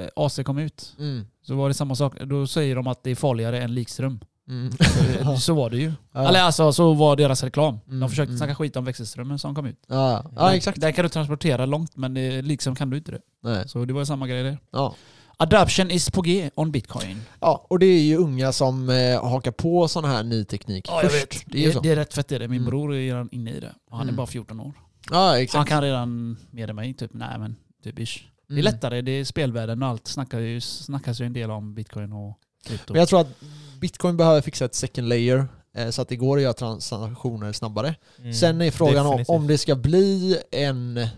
eh, AC kom ut Mm. så var det samma sak. Då säger de att det är farligare än likström. Mm. Eh, så var det ju. Ja. Eller alltså så var deras reklam. Mm, de försökte mm. snacka skit om växelströmmen som kom ut. Ja, ja Där- exakt. Där kan du transportera långt men eh, liksom kan du inte det. Nej. Så det var ju samma grej där. Ja. Adoption is på G on bitcoin. ja, och det är ju unga som eh, hakar på sån här ny teknik först. Det är ju så. det är rätt fett det. är det. Min Mm. bror är redan inne i det. Och han Mm. är bara 14 år. Ja, exakt. Han kan redan mer än mig. Typ, nej men typ ish. Det är Mm. lättare, det är spelvärlden och allt. Snackar ju, snackas ju en del om bitcoin och krypto. Men jag tror att bitcoin behöver fixa ett second layer eh, så att det går att göra transaktioner snabbare. Mm, Sen är frågan om, definitivt. om det ska bli en,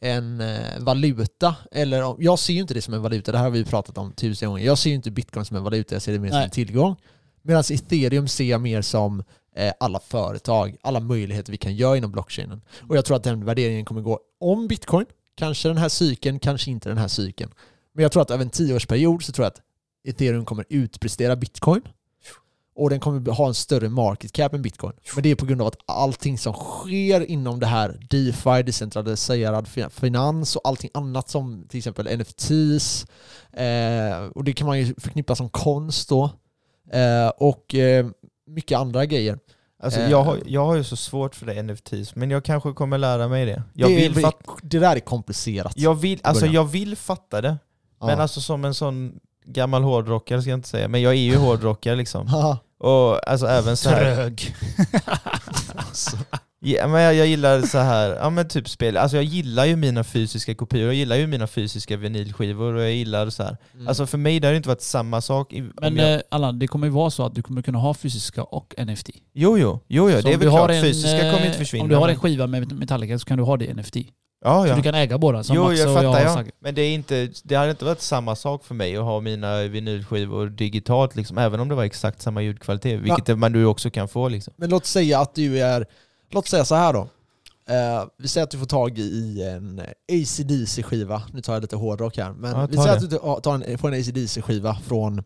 en eh, valuta. Eller om, jag ser ju inte det som en valuta, det här har vi ju pratat om tusen gånger. Jag ser ju inte bitcoin som en valuta, jag ser det mer som Nej. en tillgång. Medan ethereum ser jag mer som eh, alla företag, alla möjligheter vi kan göra inom blockchainen. Och jag tror att den värderingen kommer gå om bitcoin. Kanske den här cykeln, kanske inte den här cykeln. Men jag tror att över en tioårsperiod så tror jag att ethereum kommer utprestera bitcoin. Och den kommer ha en större market cap än bitcoin. Men det är på grund av att allting som sker inom det här DeFi, decentraliserad fi- finans och allting annat som till exempel NFTs. Eh, och det kan man ju förknippa som konst då. Eh, och eh, mycket andra grejer. Alltså, Eh. jag, har, jag har ju så svårt för det NFTs, men jag kanske kommer lära mig det. Jag, det, vill, är, fat, det där är komplicerat. jag, vill, alltså, Börja. jag vill fatta det, Ja. men alltså som en sån gammal hårdrockare ska jag inte säga, men jag är ju hårdrockare liksom. Haha. Och alltså även så här, Trög. ja, men jag, jag gillar så här, ja men typ spel, alltså jag gillar ju mina fysiska kopior, jag gillar ju mina fysiska vinylskivor och jag gillar så här. Mm. Alltså för mig det har det inte varit samma sak. i- om Men jag, eh, Allan, det kommer ju vara så att du kommer kunna ha fysiska och NFT. jo, jo, jo, jo Så det är om du väl har klart, en, fysiska kommer eh, inte försvinna. Om du har men- en skiva med Metallica så kan du ha det i NFT. ja, Så ja. du kan äga båda. Som jo, Max och jag jag fattar. har Ja. sagt. Men det, är inte, det hade inte varit samma sak för mig att ha mina vinylskivor digitalt, liksom, även om det var exakt samma ljudkvalitet, vilket man nu också kan få. Liksom. Men låt säga att du är, låt säga så här då. Eh, vi säger att du får tag i en ACDC-skiva, nu tar jag lite hårdrock här, men Ja, vi ta säger det. att du tar en, får en ACDC-skiva från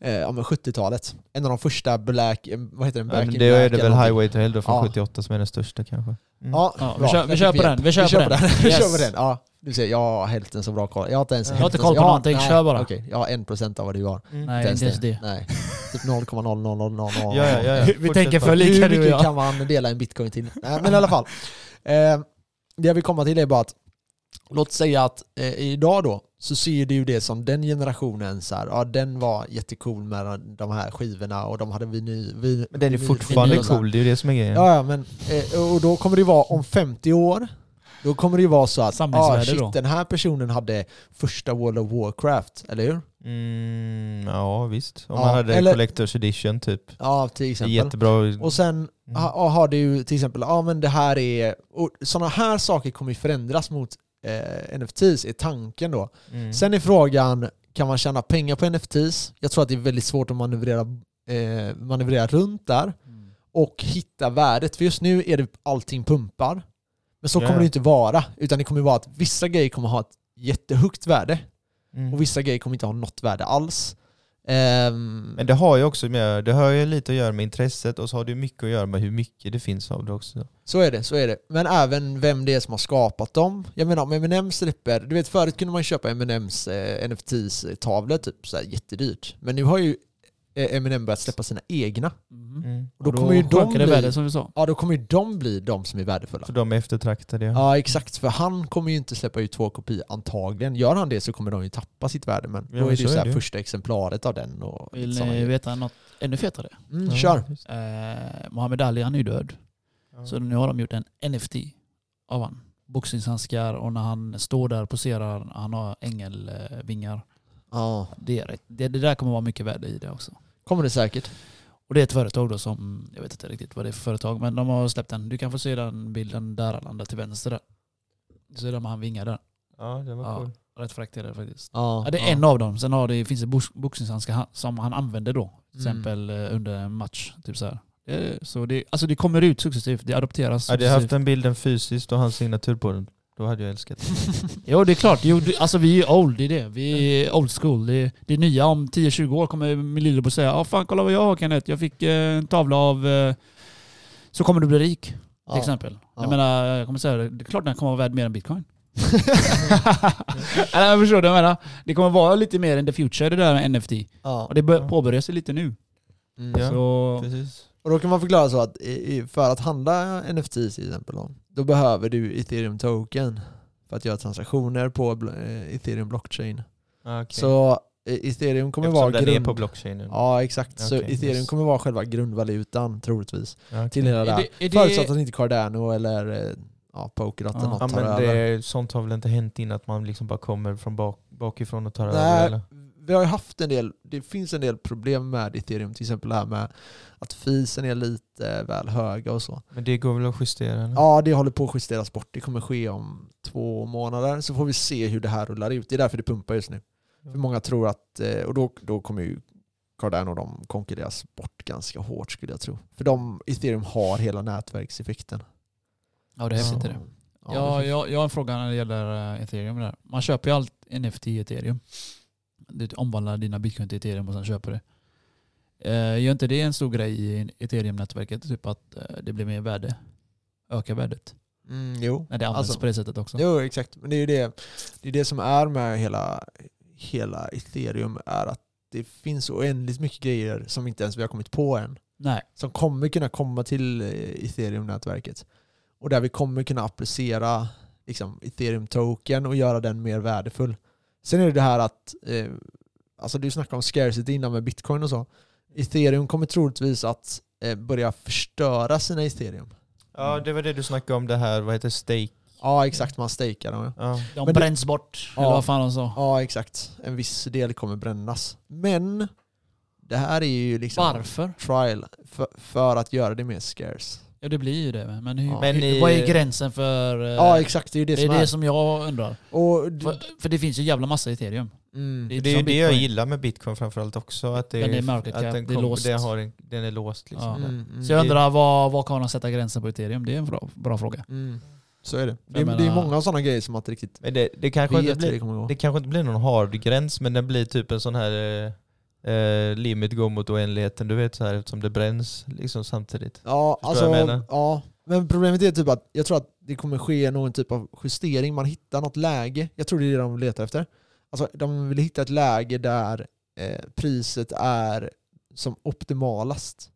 eh, ja, men 70-talet. En av de första black, eh, vad heter den? Ja, Back men in det är Black det eller väl någonting. Highway to Hell då från Ja. 78 som är den största kanske. Mm. Ja, Ja, vi bra. kör- vi Jag kör fick på fel. den, vi kör på den. Vi kör Yes. på den. Ja, du ser, jag har hälften så bra koll. Jag har inte ens Jag har inte hälften koll så- på jag har- någonting, nej, kör bara. Okej, jag har en procent av vad du har. Mm. Nej, inte ens det. Nej, typ 0,00000. Ja, ja, ja, ja. Vi Fortsätt tänker bara. för lika Hur du och mycket jag. kan man dela en bitcoin till? Nej, men i alla fall. Eh, det jag vill komma till är bara att låt säga att eh, idag då så ser du ju det som den generationen så här, ja den var jättecool med de här skivorna och de hade vinyl. Vi, Men den är fortfarande cool, det är ju det som är grejen. Ja, ja men eh, och då kommer det vara om 50 år då kommer det ju vara så att ah, Samlingsvärde shit, då. den här personen hade första World of Warcraft, eller hur? Mm, ja visst, om Ja, man hade eller- Collector's Edition typ. Ja, till Det är exempel. jättebra. Mm, Och sen ha, har du till exempel, ja men det här är, och sådana här saker kommer ju förändras mot eh, NFTs, är tanken då. Mm. Sen är frågan, kan man tjäna pengar på NFTs? Jag tror att det är väldigt svårt att manövrera, eh, manövrera runt där och hitta värdet. För just nu är det allting pumpar. Men så Ja, kommer ja. det inte vara. Utan det kommer vara att vissa grejer kommer ha ett jättehögt värde Mm. och vissa grejer kommer inte ha något värde alls. Ehm, Men det har ju också med, det har ju lite att göra med intresset och så har det ju mycket att göra med hur mycket det finns av det också. Så är det, så är det. Men även vem det är som har skapat dem. Jag menar om M&M släpper, du vet förut kunde man köpa M&M's eh, NFTs tavlor typ så här jättedyrt. Men nu har ju eh, M&M börjat släppa sina egna. Mm. Mm. Och då, kommer ju de sjunker det bli, värde som vi sa. ja, då kommer ju de bli de som är värdefulla. För de är eftertraktade. Ja. Ja exakt, för han kommer ju inte släppa ut två kopior antagligen. Gör han det så kommer de ju tappa sitt värde men Ja, då men är det ju så så är här det ju. första exemplaret av den och lite Vill sådana ni grejer. veta något ännu fetare? Mm, Ja, kör. visst. Eh, Mohammed Ali han är ju död. Ja. Så nu har de gjort en NFT av han. Boxningshandskar och när han står där och poserar, han har ängelvingar. Ja, Det, är rätt- det, det där kommer vara mycket värde i det också. kommer det säkert. Och det är ett företag då som, jag vet inte riktigt vad det är för företag, men de har släppt den. Du kan få se den bilden där Arlanda, till vänster där. Så är det med han vingar där. Ja, det var Ja. cool. Rätt fräckt är det faktiskt. Ja, Ja, det är en av dem. Sen har det, finns det box- boxningshandskar han- som han använder då. Till Mm. exempel eh, under en match. Typ så här. Eh, Så det, alltså det kommer ut successivt. Det adopteras Hade jag haft successivt. den bilden fysiskt och hans signatur på den, då hade jag älskat det. Jo det är klart. Jo, det, alltså vi är old, det är det. Vi är old school. Det, det är nya. Om 10-20 år kommer min lillebror säga ja fan kolla vad jag har Kenneth. Jag fick eh, en tavla av... Eh, så kommer du bli rik till Ja. exempel. Ja. Jag menar, jag kommer säga det. Det är klart den kommer vara värd mer än bitcoin. Eller jag förstår du vad jag menar. Det kommer vara lite mer in the future det där med NFT. Ja. Och det bör- påbörjar sig lite nu. Mm. Ja. Så, Precis. Och då kan man förklara så att i- i- för att handla NFT till exempel då, då behöver du ethereum token för att göra transaktioner på bl- eh, ethereum blockchain. Ah, okay. Så eh, ethereum kommer Eftersom vara den är grund... på blockchainen. Ja exakt, så Okej, Mm. ethereum yes. kommer vara själva grundvalutan troligtvis. Ja, Till hela det är här. det, är Förutsatt att det, inte Cardano eller eh, ja, Polkadot eller Ja. något Ja, tar men över. det, sånt har väl inte hänt innan att man liksom bara kommer från bak, bakifrån och tar över? Nej, Eller? vi har ju haft en del, det finns en del problem med ethereum, till exempel det här med att fisen är lite väl höga och så. Men det går väl att justera? Mm. Eller? Ja, det håller på att justeras bort. Det kommer ske om två månader. Så får vi se hur det här rullar ut. Det är därför det pumpar just nu. För många tror att, eh, och då, då kommer ju Cardano och de konkurreras bort ganska hårt skulle jag tro. För de, ethereum har hela nätverkseffekten. ja, det är häftigt Så- det. Ja, Ja, det- jag, jag har en fråga när det gäller eh, ethereum. Där. Man köper ju allt NFT i ethereum. Du omvandlar dina bitcoin till ethereum och sen köper det. Eh, gör inte det en stor grej i ethereum-nätverket? Typ att eh, det blir mer värde? Ökar värdet? Mm, jo. När det används Alltså, på det sättet också? jo, exakt. Men det är ju det, det, är det som är med hela, hela ethereum är att det finns oändligt mycket grejer som inte ens vi har kommit på än. Nej. som kommer kunna komma till eh, ethereum-nätverket. Och där vi kommer kunna applicera liksom, ethereum-token och göra den mer värdefull. Sen är det det här att, eh, alltså du snackade om scarcity innan med bitcoin och så. Ethereum kommer troligtvis att eh, börja förstöra sina ethereum. Ja, det var det du snackade om det här, vad heter stake? Mm. Ja exakt, man stakar dem. ja. Ja. De Men det- bränns bort. Ja. Eller vad fan de sa. Ja exakt, en viss del kommer brännas. Men det här är ju liksom Varför? trial för, för att göra det mer scarce. Ja det blir ju det. Men, hur, Ja. Men hur, i- vad är gränsen för... eh, Ja exakt, det är ju det, det som är är. det som jag undrar. Och, d- För, för det finns ju jävla massa ethereum. mm. är Det är ju som det jag Bitcoin. gillar med bitcoin framförallt också. Att det Den är market att cap, den, det är kom, låst. Den, har en, den är låst. Liksom. Ja. Mm, mm. Så jag undrar, var, var kan man sätta gränsen på ethereum? Det är en bra, bra fråga. Mm. Så är det. Det, Jag menar- det är många sådana grejer som man inte riktigt Men det, det, kanske inte vet hur blir, typ det kommer gå. det kanske inte blir någon hard gräns, men den blir typ en sån här... eh, eh, limit går mot oändligheten, du vet så här eftersom det bränns liksom samtidigt. Ja, Förstår vad jag menar? alltså, ja, men problemet är typ att jag tror att det kommer ske någon typ av justering. Man hittar något läge. Jag tror det är det de letar efter. Alltså, de vill hitta ett läge där eh, priset är som optimalast.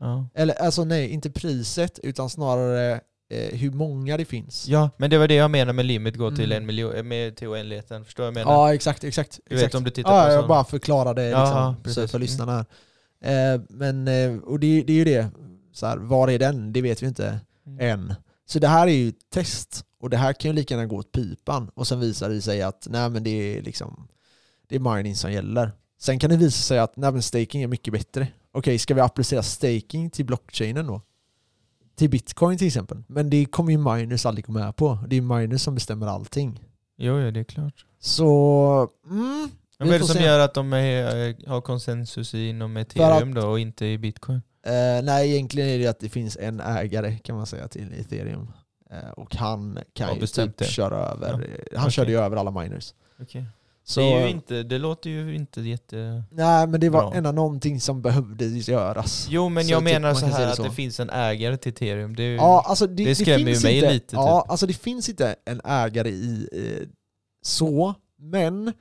Ja. Eller alltså nej, inte priset utan snarare eh, hur många det finns. ja, men det var det jag menade med limit går till Mm. en miljon, eh, med, till oändligheten. Förstår vad jag menar? Ja, exakt. exakt, Du vet exakt. om du tittar ja, på en Jag sån- bara förklarade liksom, Ja, så precis. för Mm. lyssnarna här. Eh, men, eh, och det, det är ju det. Så här, var är den? Det vet vi inte Mm. än. Så det här är ju ett test. Och det här kan ju lika gärna gå åt pipan. Och sen visar det sig att nej, men det är liksom det är mining som gäller. Sen kan det visa sig att nej, men staking är mycket bättre. Okej, ska vi applicera staking till blockchainen då? Till bitcoin till exempel. Men det kommer ju miners aldrig gå med på. Det är miners som bestämmer allting. Jo, ja, det är klart. Så, mm, Vi Men vad är det får som se. gör att de är, eh, har konsensus inom ethereum då och inte i bitcoin? Eh, nej, egentligen är det att det finns en ägare kan man säga till ethereum. Eh, och han kan Ja, ju bestämt typ det. köra över, han okej. körde ju över alla miners. Okej. Så, Det, är ju inte, det låter ju inte jätte... nej men det var Bra. ändå någonting som behövde göras. Jo men Så jag typ menar man så kan se här det att så. det finns en ägare till ethereum. Det är ju, Ja, alltså det, Eh, det det skrämmer ju finns mig inte, lite, typ. Ja, alltså det finns inte en ägare i eh, så, men, eh,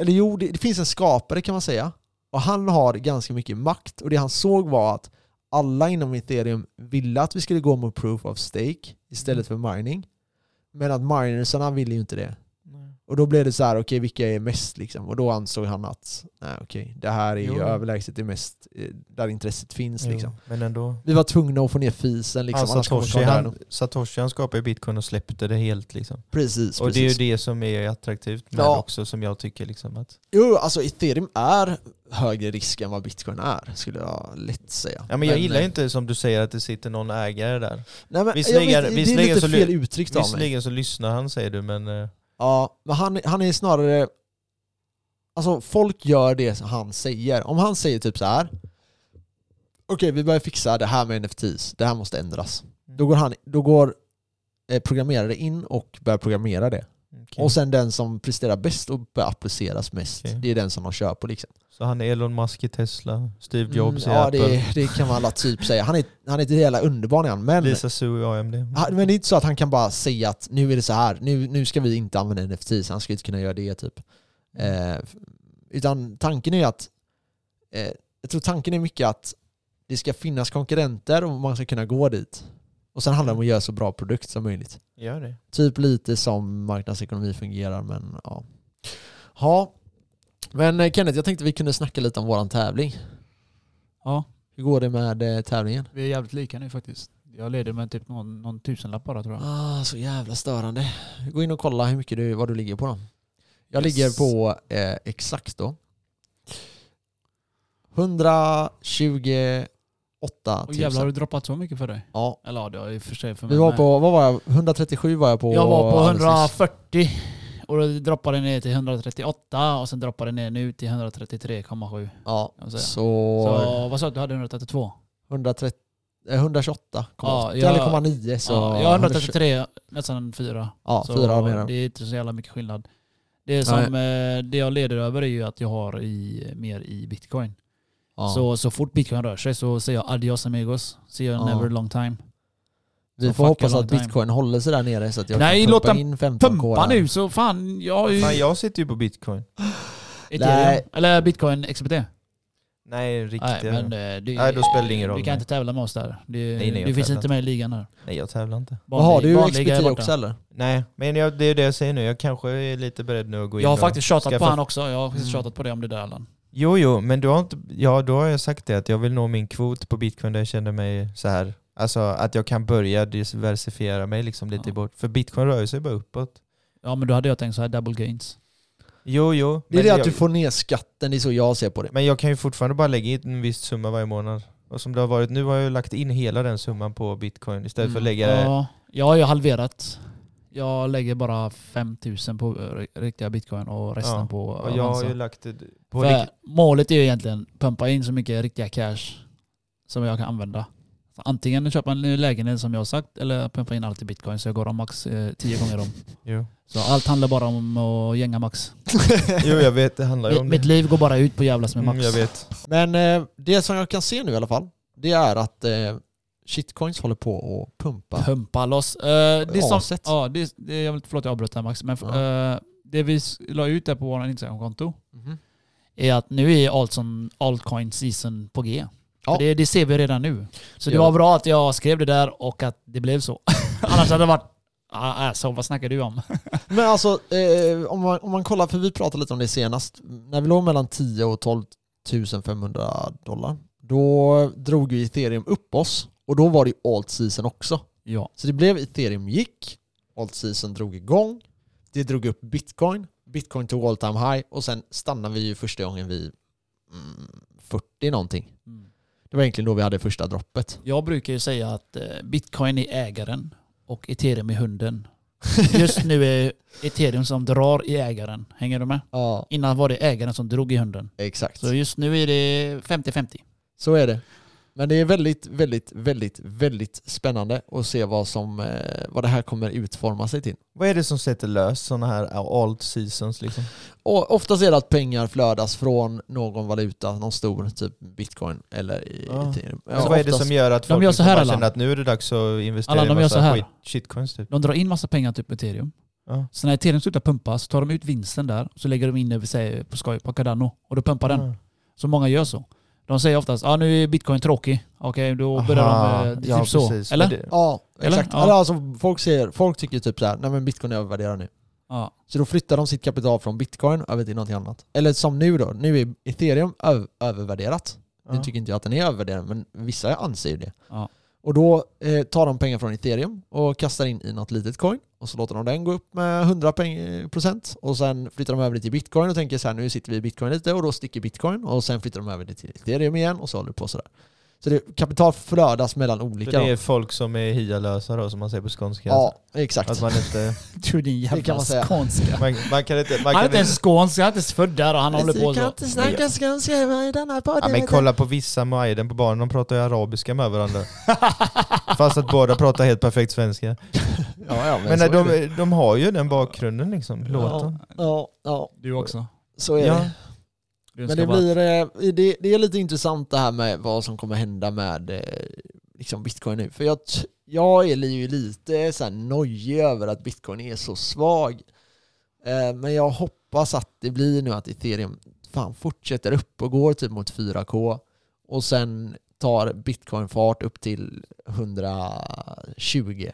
eller jo, det, det finns en skapare kan man säga. Och han har ganska mycket makt. Och det han såg var att alla inom ethereum ville att vi skulle gå mot proof of stake istället Mm. för mining. Men att minersarna ville ju inte det. Och då blev det så här, okej vilka är mest liksom? Och då ansåg han att, nej okej, det här är ju Jo. överlägset det mest, eh, där intresset finns Jo, Alltså, liksom. Men ändå. Vi var tvungna att få ner fisen liksom, han, annars kommer Satoshi, vi ta döden. han, Satoshi han skapade ju bitcoin och släppte det helt liksom. Precis, Och det är precis. ju det som är attraktivt med Ja. också som jag tycker liksom att... Jo, alltså ethereum är högre risk än vad bitcoin är, skulle jag lätt säga. Ja men jag gillar ju eh, inte som du säger att det sitter någon ägare där. Nej, men, jag Visserligen- vet, det är visserligen lite så ly- fel uttryckt av mig. Visserligen så lyssnar han säger du men... eh, Ja, men han, han är snarare... Alltså folk gör det som han säger. Om han säger typ så här. Okej, vi börjar fixa det här med NFTs. Det här måste ändras. Mm. Då går, han, då går eh, programmerare in och börjar programmera det. okej. Och sen den som presterar bäst och börjar appliceras mest, Okej. det är den som de kör på liksom. Så han är Elon Musk i Tesla, Steve Jobs Mm, i ja, Apple, det, det kan man alla typ säga. Han är, han är ett jävla underbarn är han, men, Lisa Su i AMD. han, men det är inte så att han kan bara säga att nu är det så här, nu, nu ska vi inte använda NFT, så han ska inte kunna göra det typ. Mm. Eh, f- utan tanken är att, eh, jag tror tanken är mycket att det ska finnas konkurrenter och man ska kunna gå dit. Och sen handlar det om att göra så bra produkt som möjligt. Gör det. Typ lite som marknadsekonomi fungerar, men ja. Ja, men eh, Kenneth, jag tänkte vi kunde snacka lite om våran tävling. Ja, Hur går det med eh, tävlingen? vi är jävligt lika nu faktiskt. Jag leder med typ någon, någon tusenlapp bara tror jag. Ah, så jävla störande. Gå in och kolla hur mycket du, vad du ligger på då. Jag Yes. ligger på eh, exakt då. 128 Och 000. jävlar har du droppat så mycket för dig? ja, Eller ja, det har ju för sig för mig vi var med. på, vad var jag? 137 var jag på. Jag var på alldeles nyss. 140 och då droppade det ner till 138 och sen droppade det ner nu till 133,7. Ja, kan man så, säga. Så vad sa du, du hade 132? 130, eh, 128 Ja, ja, jag- 9 så... ja, jag har 133, nästan 4. Ja, så fyra mer. det är inte så jävla mycket skillnad. Det, som, eh, det jag leder över är ju att jag har i, mer i bitcoin. Ja. Så, så fort bitcoin rör sig så säger jag adios amigos, see you Ja. never long time. vi så får fuck hoppas a long att time. bitcoin håller sig där nere så att jag Nej, kan låt pumpa den in 15 Pumpa nu så fan, jag har ju Fan, jag sitter ju på bitcoin. Nej. ethereum. Eller bitcoin XBT. Nej, Nej, riktiga. Nej, men eh, det, Nej, då spelar det ingen roll. Du kan inte tävla med oss där. Det, Nej, nej, jag du finns tävlar inte med i ligan här. jag tävlar inte. Vad har Vanlig- du vanlig liga är XPT borta. också eller? Nej, men jag, det är det jag säger nu. Jag kanske är lite beredd nu att gå in Jag har och faktiskt tjatat på skaffa- han också. Jag har faktiskt Mm. tjatat på det om det där Allan. Jo, jo, men du har inte... Ja, då har jag sagt det att jag vill nå min kvot på bitcoin där jag känner mig så här. Alltså att jag kan börja diversifiera mig liksom lite Ja. bort. För bitcoin rör ju sig bara uppåt. Ja men då hade jag tänkt så här double gains. Jo, jo. Det är men det att jag, du får ner skatten, det är så jag ser på det. Men jag kan ju fortfarande bara lägga in en viss summa varje månad. Och som det har varit nu har jag ju lagt in hela den summan på bitcoin istället för att lägga det Mm. Ja, jag har ju halverat. Jag lägger bara 5000 på eh, riktiga bitcoin och resten Ja, på Och jag har Avanza. ju lagt det på alltså. För riktigt. Målet är ju egentligen pumpa in så mycket riktiga cash som jag kan använda. Antingen köpa en lägenhet som jag har sagt eller pumpa in allt i bitcoin så jag går om max eh, tio gånger om. Jo. Så allt handlar bara om att gänga max. jo, jag vet. Det handlar ju Mitt, om det. mitt liv går bara ut på jävlas med max. Mm, jag vet. Men eh, det som jag kan se nu i alla fall, det är att eh, shitcoins håller på att pumpa. Pumpa loss. Eh, det är som, Aset. ja, det, är- det, jag vill, förlåt jag avbröt här Max, men eh, det vi s- la ut där på vår Instagram-konto Mhm. är att nu är altson, altcoin season på G. Ja. För Det, det ser vi redan nu. Så det Ja. var bra att jag skrev det där och att det blev så. Annars hade det varit Ah, alltså, vad snackar du om? Men alltså, eh, om, man, om man kollar, för vi pratade lite om det senast, när vi låg mellan 10 och 12 500 dollar, då drog ju ethereum upp oss och då var det ju alt season också. Ja. Så det blev ethereum gick, alt season drog igång, det drog upp bitcoin, bitcoin tog all time high och sen stannade vi ju första gången vid mm, 40 någonting. Det var egentligen då vi hade första droppet. Mm. Jag brukar ju säga att eh, bitcoin är ägaren och ethereum är hunden. Just nu är ethereum som drar i ägaren. Hänger du med? Ja, Innan var det ägaren som drog i hunden. exakt. Så just nu är det 50-50. Så är det. Men det är väldigt, väldigt, väldigt, väldigt spännande att se vad, som, eh, vad det här kommer utforma sig till. Vad är det som sätter lös sådana här alt seasons liksom? Och oftast är det att pengar flödas från någon valuta, någon stor, typ bitcoin eller i Ja. ethereum. Ja, så Alltså, vad är det oftast. som gör att folk gör så liksom här, bara Allan. känner att nu är det dags att investera Allan, i de gör massa så här. skit, shitcoins typ? De drar in massa pengar typ ethereum. Ja. Så när ethereum slutar pumpa så tar de ut vinsten där så lägger de in det vi säger på skoj på Cardano och då pumpar den. Mm. Så många gör så. De säger oftast ah, nu är bitcoin tråkig. Okej, då börjar Aha, de eh, typ ja, så. precis. Eller? Men det- Ja, Eller? exakt. Ja. Eller alltså, folk, ser, folk tycker typ så här, nej men bitcoin är övervärderad nu. Ja. Så då flyttar de sitt kapital från bitcoin över till någonting annat. Eller som nu då, nu är ethereum ö- övervärderat. Nu ja. tycker inte jag att den är övervärderad, men vissa anser ju det. Ja. Och då eh, tar de pengar från ethereum och kastar in i något litet coin och så låter de den gå upp med 100 peng- procent och sen flyttar de över det till bitcoin och tänker så här nu sitter vi i bitcoin lite och då sticker bitcoin och sen flyttar de över det till ethereum igen och så håller det på sådär. Så det, kapital flödas mellan Så olika. det är folk som är hialösa då, som man säger på skånska? ja, exakt. Att man inte... Du din Det kan jävla man säga. skånska. Man, man kan inte... Han är Man kan inte ens skånsk, han är inte ens född där och han håller på så. skånska i denna Ja, podden. men kolla på vissa Maiden på barnen, de pratar ju arabiska med varandra. Fast att båda pratar helt perfekt svenska. Ja, ja, men Men så nej, är det. de, de har ju den bakgrunden liksom, låten. Ja, ja, ja, Du också. så är det. Du Men ska det, bara- blir, eh, det, det är lite intressant det här med vad som kommer hända med eh, liksom bitcoin nu. För jag, t- jag är ju lite så här nojig över att bitcoin är så svag. Eh, Men jag hoppas att det blir nu att ethereum fan fortsätter upp och går typ mot 4k och sen tar bitcoin fart upp till 120.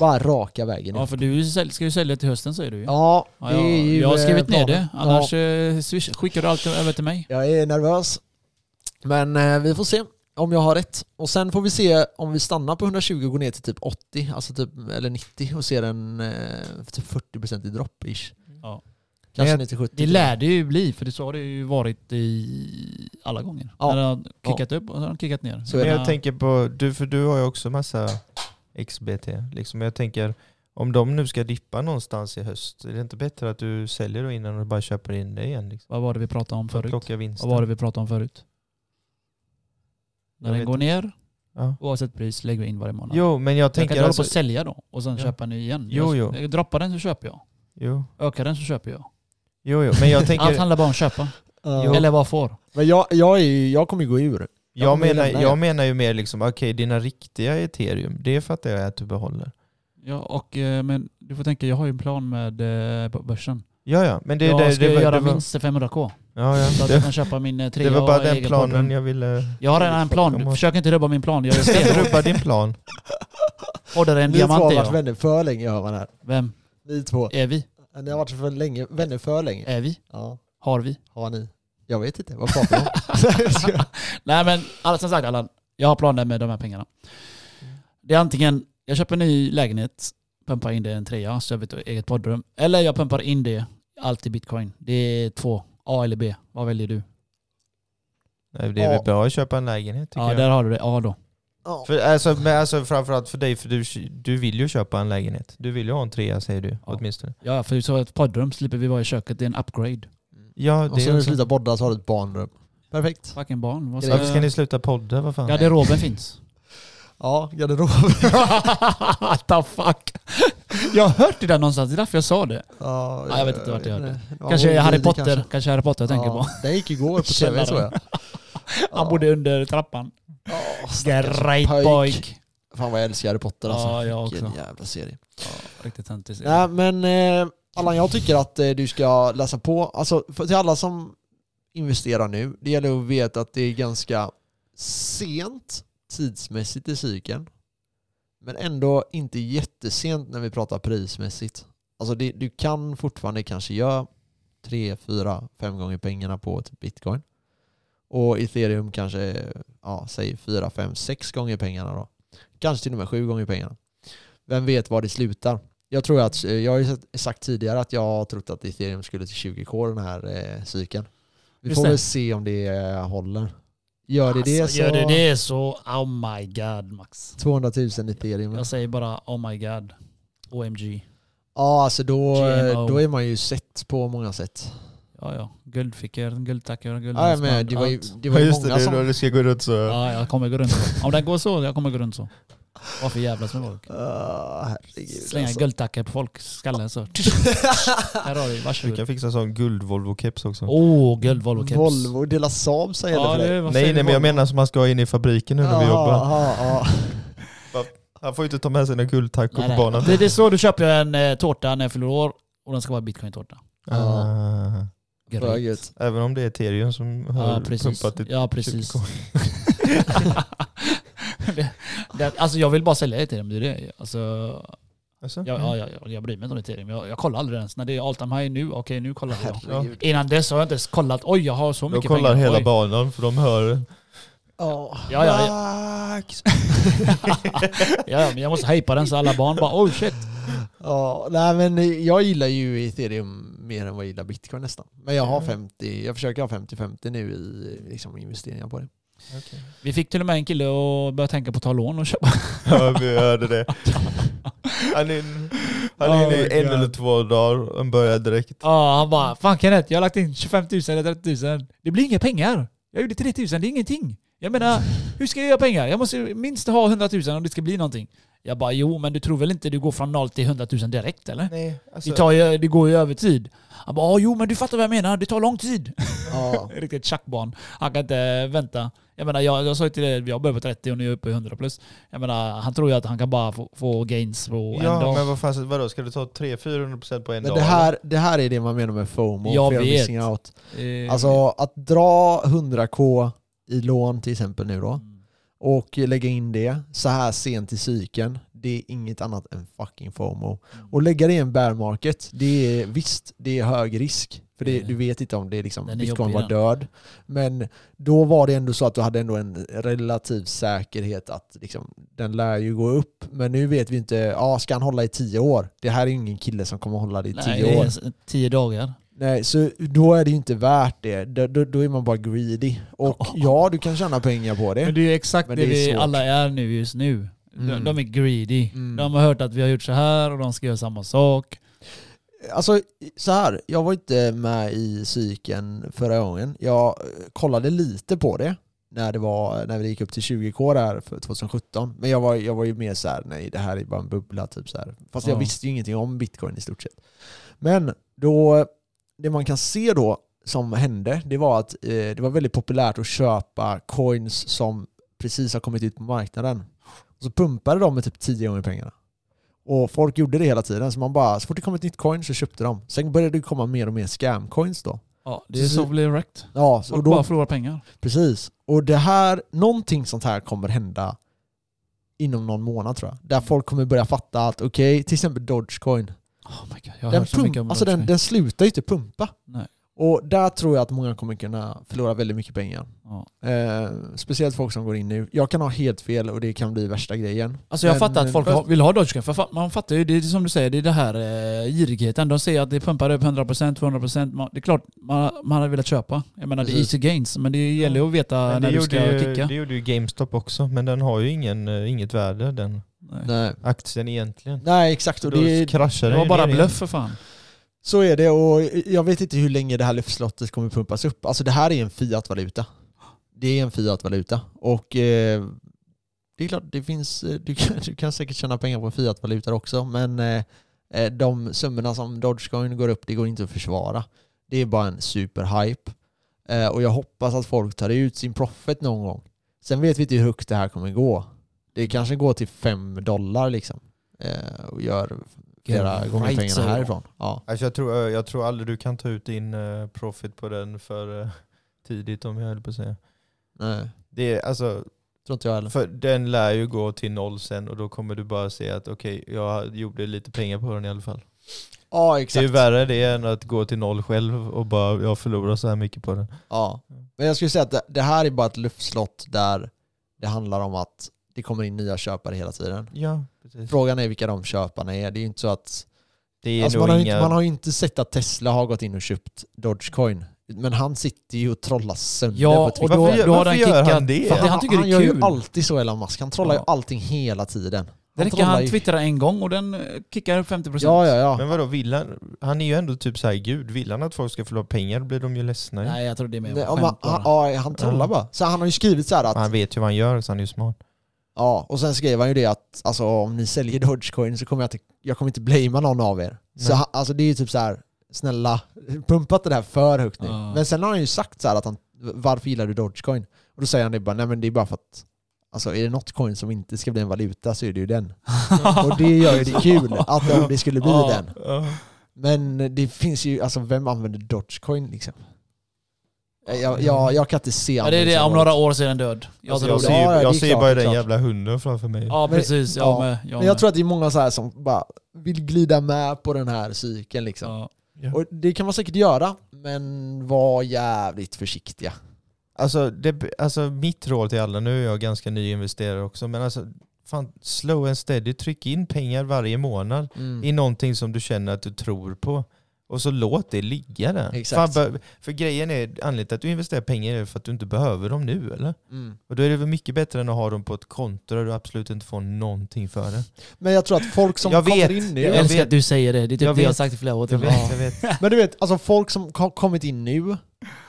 Bara raka vägen Ja upp. för du säl- ska ju sälja till hösten säger du ju. Ja, det Ja, är ju, jag har eh, skrivit ner planen. det. Annars eh, swish, skickar du allt över till mig. Jag är nervös. Men eh, vi får se om jag har rätt. Och sen får vi se om vi stannar på 120 och går ner till typ 80, alltså typ, eller 90 och ser en eh, typ 40% i dropp ish. Ja. Kanske jag- ner till 70. Det lär det ju bli, för det så har det ju varit i alla gånger. Ja. När de har kickat upp och så har de kickat ner. Så är Men det. jag tänker på, du, för du har ju också massa XBT. Liksom. Jag tänker, om de nu ska dippa någonstans i höst, är det inte bättre att du säljer då innan och bara köper in det igen? Liksom? Vad var det vi pratade om För att förut? plocka vinsten. Vad var det vi pratade om förut? Jag När den vet går ner, Ja. oavsett pris, lägger vi in varje månad. Jo, men jag jag kan tänker inte hålla på alltså... att sälja då och sen Ja. köpa ny igen. Jo, jag, jo. jag droppar den så köper jag. Jo, Ökar den så köper jag. jo, jo. men jag Allt tänker... handlar bara om att köpa. Ja. Eller vad jag får. Men jag, jag, är, ju- jag kommer ju gå ur. Jag kommer ju menar, lämna jag det. menar ju mer liksom, okej dina riktiga ethereum, det fattar jag att du behåller. Ja, och, eh, men du får tänka, jag har ju en plan med eh, på börsen. Ja, ja, men det, jag det, ska det, ju var- göra det var, minst 500k. ja, Så ja. att jag Det, kan köpa min eh, trea det var och bara den egen planen podden. jag ville... Jag har redan en plan. Försök inte rubba min plan. Jag är Ska inte stenhård. rubba din plan. Hårdare än Ni två diamant har är varit jag. vänner för länge hör man här. Vem? Ni två. Är vi? Ni har varit för länge, vänner för länge. Är vi? Ja, Har vi? har ni? Jag vet inte, vad pratar ni om? Nej men alla, som sagt Allan, jag har planer med de här pengarna. Det är antingen, jag köper en ny lägenhet, pumpar in det i en trea, så jag vet eget poddrum. Eller jag pumpar in det, allt i bitcoin. Det är två, A eller B. Vad väljer du? Nej, det är Ja. väl bra att köpa en lägenhet tycker Ja, jag. där har du det. A då. Ja. För, alltså, men alltså framförallt för dig, för du, du vill ju köpa en lägenhet. Du vill ju ha en trea säger du åtminstone. Ja, för så ett poddrum slipper vi vara i köket. Det är en upgrade. Ja, Och det så är när du också. slutar bodda så har du ett barnrum. Perfekt. Fucking barn. Vad Ja, säger Varför ska jag? ni sluta podda? Vad fan? Garderoben finns. Ja, garderob. What the fuck? Jag har hört det där någonstans, det är därför jag sa det. Ja, eh, Ja, jag vet inte vart jag hörde. nej. Det var Kanske Molin Harry Potter, kanske. kanske, Harry Potter jag tänker på. Ja, Den gick igår på tv såg jag. Han bodde under trappan. Ja, stackars Great pojk. pojk. Fan vad jag älskar Harry Potter alltså. Ja, jag också. Vilken jävla serie. Riktigt töntig serie. Nej men eh, Allan, jag tycker att eh, du ska läsa på. Alltså för, till alla som investerar nu, det gäller att veta att det är ganska sent tidsmässigt i cykeln. Men ändå inte jättesent när vi pratar prismässigt. Alltså det, du kan fortfarande kanske göra tre, fyra, fem gånger pengarna på ett bitcoin. Och ethereum kanske, ja, säg fyra, fem, sex gånger pengarna då. Kanske till och med sju gånger pengarna. Vem vet var det slutar? Jag tror att, eh, jag har ju sett- sagt tidigare att jag har trott att ethereum skulle till 20k den här eh, cykeln. Vi Just får det. väl se om det eh, håller. Gör det det så... Alltså, Gör det det så, oh my god Max. 200 000 ethereum. Jag säger bara oh my god. OMG. Ja, alltså då, GMO. då är man ju sett på många sätt. Ja, ja. Guldfickor, guldtackor, Ja, guldhalsband. men det var ju, allt. det var ju många som... du ska gå runt så. Ja, jag kommer gå runt så. Om den går så, jag kommer gå runt så. Varför jävlas med folk? Ah, herregud Slänga alltså. guldtackor på folks skallar så. Här har du, Du varsågod. kan fixa en sån guld-Volvo-keps också. Åh, oh, guld Volvo keps. Volvo och Dela Saab säger det Ja, för dig. det, vad säger nej, nej, du, men jag Volvo? menar som man ska ha in i fabriken nu när vi jobbar. Ja, ja, Han får ju inte ta med sig några guldtackor Nej, på nej. banan. Det, det är så du köper en eh, tårta när jag fyller år och den ska vara bitcoin-tårta. Ah. ja. För gött. Även om det är Ethereum som har Ja, precis. pumpat ditt Ja, precis. bitcoin. det, det, alltså jag vill bara sälja ethereum, det är det. Alltså, Alltså? jag, ja, jag, jag, jag bryr mig inte om ethereum. Jag, jag kollar aldrig ens. När det är all time high nu, okej nu kollar jag. Herregud. Innan dess har jag inte ens kollat. Oj, jag har så De mycket kollar pengar. hela Oj. banan för de hör... Ja. Ja, ja, ja. Max! ja, men jag måste hypa den så alla barn bara oh shit. Ja, nej men jag gillar ju ethereum mer än vad jag gillar bitcoin nästan. Men jag har 50, jag försöker ha 50-50 nu i liksom, investeringar på det. Vi fick till och med en kille att börja tänka på att ta lån och köpa. Ja, vi hörde det. Han är, han är inne Oh i my en God. eller två dagar och börjar direkt. Ja, han bara fan Kenneth, jag har lagt in 25 000 eller 30 000. Det blir inga pengar. Jag gjorde 3 000, det är ingenting. Jag menar, hur ska jag göra pengar? Jag måste ju minst ha 100 000 om det ska bli någonting. Jag bara jo, men du tror väl inte du går från 0 till 100 000 direkt eller? Nej, alltså, Det, tar ju, det går ju över tid. Han bara, "Ja, jo men du fattar vad jag menar, det tar lång tid. Ja, Riktigt tjackbarn. Han kan inte vänta. Jag menar, jag, jag sa ju till dig, jag börjar på 30 och nu är jag uppe i 100 plus. Jag menar, han tror ju att han kan bara få, få gains på en ja, dag. men vad fan, vadå, ska du ta 300-400% på en men dag? det här, det här är det man menar med FOMO, Jag fear of vet. missing out. Eh, Alltså att dra 100k i lån till exempel nu då Mm. och lägga in det så här sent i cykeln, det är inget annat än fucking FOMO. Mm. Och lägga det i en bear market, det är visst, det är hög risk. För det, Mm. du vet inte om det är liksom, Den är bitcoin jobbig var den. död. Men då var det ändå så att du hade ändå en relativ säkerhet att liksom, den lär ju gå upp. Men nu vet vi inte, ja ska han hålla i tio år? Det här är ju ingen kille som kommer hålla det i Nej, tio det är år. ens tio dagar. Nej, så då är det ju inte värt det. Då, då, då är man bara greedy. Och ja, du kan tjäna pengar på Men det. det är ju exakt det, Men det är vi svårt. alla är nu just nu. Eh? Mm. De, de är greedy. Mm. De har hört att vi har gjort så här och de ska göra samma sak. Alltså så här, jag var inte med i cykeln förra gången. Jag eh, kollade lite på det när det var, när vi gick upp till 20k där för 2017. Men jag var, jag var ju mer så här, nej det här är bara en bubbla typ så här. Fast jag Ja. visste ju ingenting om bitcoin i stort sett. Men då, det man kan se då som hände, det var att eh, det var väldigt populärt att köpa coins som precis har kommit ut på marknaden. Och så pumpade de med typ 10 gånger pengarna. Och folk gjorde det hela tiden, så man bara, så fort det kom ett nytt coin så köpte de. Sen började det komma mer och mer scam coins då. Ja, det är så blir wrecked. Ja, så Folk och då bara förlorar pengar. Precis. Och det här, någonting sånt här kommer hända inom någon månad tror jag. Där folk kommer börja fatta att okej, till exempel Dogecoin. Oh my God, jag har Den, hört så mycket pump, om alltså den, Dogecoin. den slutar ju inte pumpa. Nej. Och där tror jag att många kommer kunna förlora väldigt mycket pengar. Ja. Eh, speciellt folk som går in nu. Jag kan ha helt fel och det kan bli värsta grejen. Alltså jag Men- fattar att folk fast- har- vill ha Dogecoin, för fa- man fattar ju, det är som du säger, det är det här eh, girigheten. De säger att det pumpar upp 100%, 200%. Man, det är klart man, man hade velat köpa. Jag menar det är Precis. easy gains, men det gäller ju att veta Men det, när du ska gjorde ju, kicka. det gjorde ju GameStop också, men den har ju ingen, eh, inget värde den Nej. Nej, aktien egentligen. Nej exakt. Så Och då det, kraschar Det den var ju bara ner igen. bluff för fan. Så är det och jag vet inte hur länge det här luftslottet kommer pumpas upp. Alltså det här är en fiatvaluta. Det är en fiatvaluta och eh, det är klart, det finns, eh, du, kan, du kan säkert tjäna pengar på fiatvalutor också, men eh, eh, de summorna som Dogecoin går upp, det går inte att försvara. Det är bara en superhype. Eh, och jag hoppas att folk tar ut sin profit någon gång. Sen vet vi inte hur högt det här kommer gå. Det kanske går till 5 dollar liksom. Eh, och gör flera gånger right, pengarna så. härifrån. Ja. Alltså jag, tror, jag tror aldrig du kan ta ut din eh, profit på den för eh, tidigt om jag höll på att säga. Nej, Det är, alltså, tror inte jag heller. för den lär ju gå till noll sen och då kommer du bara se att okej, jag gjorde lite pengar på den i alla fall. Ja, Det är exakt. ju värre det än att gå till noll själv och bara jag förlorar så här mycket på den. Ja. Men jag skulle säga att det- det här är bara ett luftslott där det handlar om att det kommer in nya köpare hela tiden. Ja, precis. Frågan är vilka de köparna är. Det är ju inte så att... Det är Alltså nog man, har ju inga... inte, man har ju inte sett att Tesla har gått in och köpt Dogecoin. Men han sitter ju och trollar sönder Ja, på och Twitter. då, Varför gör- då har varför den gör kickat. han det? För att han, han tycker det gör är ju kul. alltid så Elon Musk. Han trollar Ja. ju allting hela tiden. det räcker trollar han ju. twittra en gång och den eh, kickar 50%. Ja, ja, ja. Men vadå, vill han, han är ju ändå typ så här gud, vill han att folk ska förlora pengar blir de ju ledsna ju. Nej, jag tror det är mer Nej, om han, skämt han, bara. ja, han trollar Ja. bara. Så han har ju skrivit så här att Men Han vet ju vad han gör så han är ju smart. Ja, och sen skrev han ju det att alltså, om ni säljer Dogecoin så kommer jag inte, jag kommer inte blamea någon av er. Så Nej. han, alltså, det är ju typ så här, snälla, pumpa inte det här för högt nu. Ja. Men sen har han ju sagt så här att han, varför gillar du Dogecoin? Och då säger han det bara, nej men det är bara för att Alltså är det något coin som inte ska bli en valuta så är det ju den. Och det gör ju det kul att om det skulle bli Ja. den. Alltså, Men det finns ju, alltså vem använder Dogecoin liksom? Jag, jag, jag kan inte se Mm. Ja, det är det. Om användningen. några år så är den död. Jag Alltså, tror jag det. ser, Ja, ja, det är jag ser klart, det bara är den klart. jävla hunden framför mig. Ja, Men- precis. Jag ja. med. Jag Men jag med. tror att det är många så här som bara vill glida med på den här cykeln liksom. Ja. Och det kan man säkert göra, men var jävligt försiktiga. Alltså, det, alltså mitt råd till alla, nu är jag ganska ny investerare också, men alltså fan, slow and steady, tryck in pengar varje månad Mm. i någonting som du känner att du tror på. Och så låt det ligga där. Exakt. Fan, bör- för grejen är, anledningen till att du investerar pengar är för att du inte behöver dem nu eller? Mm. Och då är det väl mycket bättre än att ha dem på ett konto där du absolut inte får någonting för det. Men jag tror att folk som Jag kommer vet. in Jag nu, vet. älskar att du säger det. Det är typ Jag det jag har vet. sagt i flera år. Jag till vet, mig. jag vet. men du vet, alltså folk som har kommit in nu,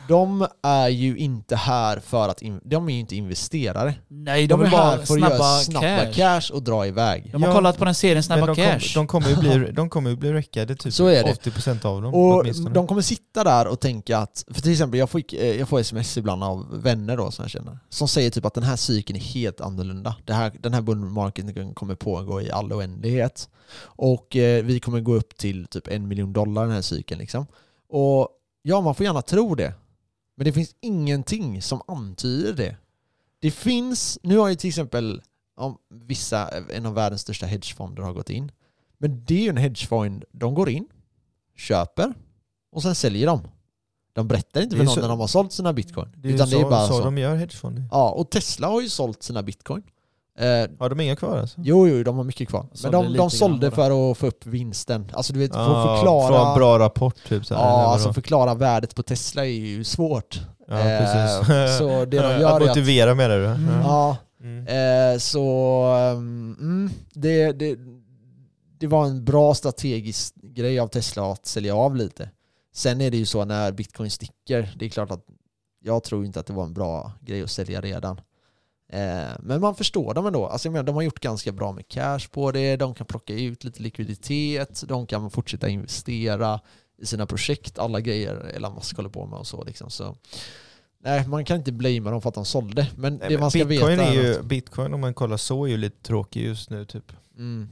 de är ju inte här för att, in, de är ju inte investerare. Nej, De, de, är vill här bara för att göra snabba, snabba cash, cash. och dra iväg. De har Ja. kollat på den serien Snabba de, Cash. Kom, de kommer ju bli, de kommer ju bli räckade typ Så är det. 80% av dem Och åtminstone. de kommer sitta där och tänka att, för till exempel jag, fick, eh, jag får sms ibland av vänner då som jag känner, som säger typ att den här cykeln är helt annorlunda. Det här, den här bull marketen kommer pågå i all oändlighet. Och eh, vi kommer gå upp till typ en miljon dollar den här cykeln liksom. Och ja, man får gärna tro det. Men det finns ingenting som antyder det. Det finns, nu har ju till exempel om vissa, en av världens största hedgefonder har gått in. Men det är ju en hedgefond, de går in, köper och sen säljer de. De berättar inte Det är för någon så- när de har sålt sina bitcoin. det är ju utan så, det är bara så, så. de gör hedgefonder. Ja, och Tesla har ju sålt sina bitcoin. Eh, Har de inga kvar alltså? jo, jo, de har mycket kvar. Men Sålde de, lite grann de sålde bara. för att få upp vinsten. Alltså du vet, för att Ah, förklara... Få en bra rapport typ så här, eller ja, vadå? alltså förklara värdet på Tesla är ju svårt. Ja, Eh, precis. så det de gör att är att... motivera med det du. Mm. Ja. Ja, Mm. eh, så... mm, Mm, det, det, det var en bra strategisk grej av Tesla att sälja av lite. Sen är det ju så när bitcoin sticker, det är klart att jag tror inte att det var en bra grej att sälja redan. Eh, men man förstår dem ändå. Alltså jag menar, de har gjort ganska bra med cash på det, de kan plocka ut lite likviditet, de kan fortsätta investera i sina projekt, alla grejer Elon Musk håller på med och så. Liksom. så nej, man kan inte blamea dem för att de sålde, men Nej, det men man ska Bitcoin veta är ju, att- Bitcoin om man kollar så är ju lite tråkig just nu typ. Mm.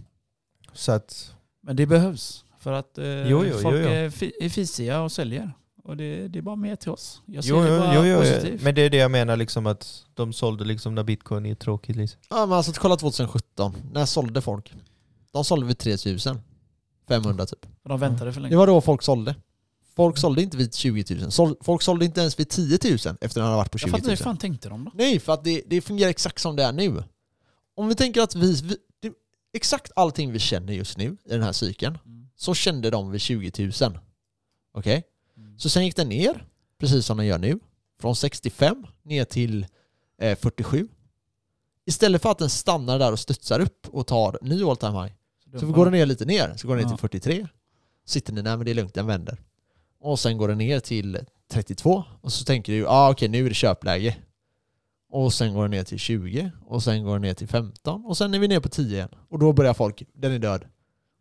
Så att, Men det behövs. För att eh, Jo, jo, folk jo, jo. Är, fi- är fisiga och säljer. Och det, det är bara mer till oss. Jag ser jo, det jo, bara jo, jo, positivt. men det är det jag menar liksom att de sålde liksom när bitcoin är tråkigt liksom. Ja, men alltså kolla 2017, när sålde folk? De sålde vid 3000. 500 typ. de väntade för länge. Det var då folk sålde. Folk sålde inte vid 20 000. Sål- Folk sålde inte ens vid 10 000 efter att den hade varit på Jag 20 fattar 000. hur fan tänkte de då? Nej, för att det, det fungerar exakt som det är nu. Om vi tänker att vi, vi det, exakt allting vi känner just nu i den här cykeln, Mm. så kände de vid 20 000. Okej? Så sen gick den ner, precis som den gör nu, från 65 ner till eh, 47. Istället för att den stannar där och studsar upp och tar ny all time high, så går den ner lite ner, så går den ner Ja. till 43. Sitter ni, nej men det är lugnt, den vänder. Och sen går den ner till 32 och så tänker du, ah, okej nu är det köpläge. Och sen går den ner till 20 och sen går den ner till 15 och sen är vi ner på 10 igen. Och då börjar folk, den är död.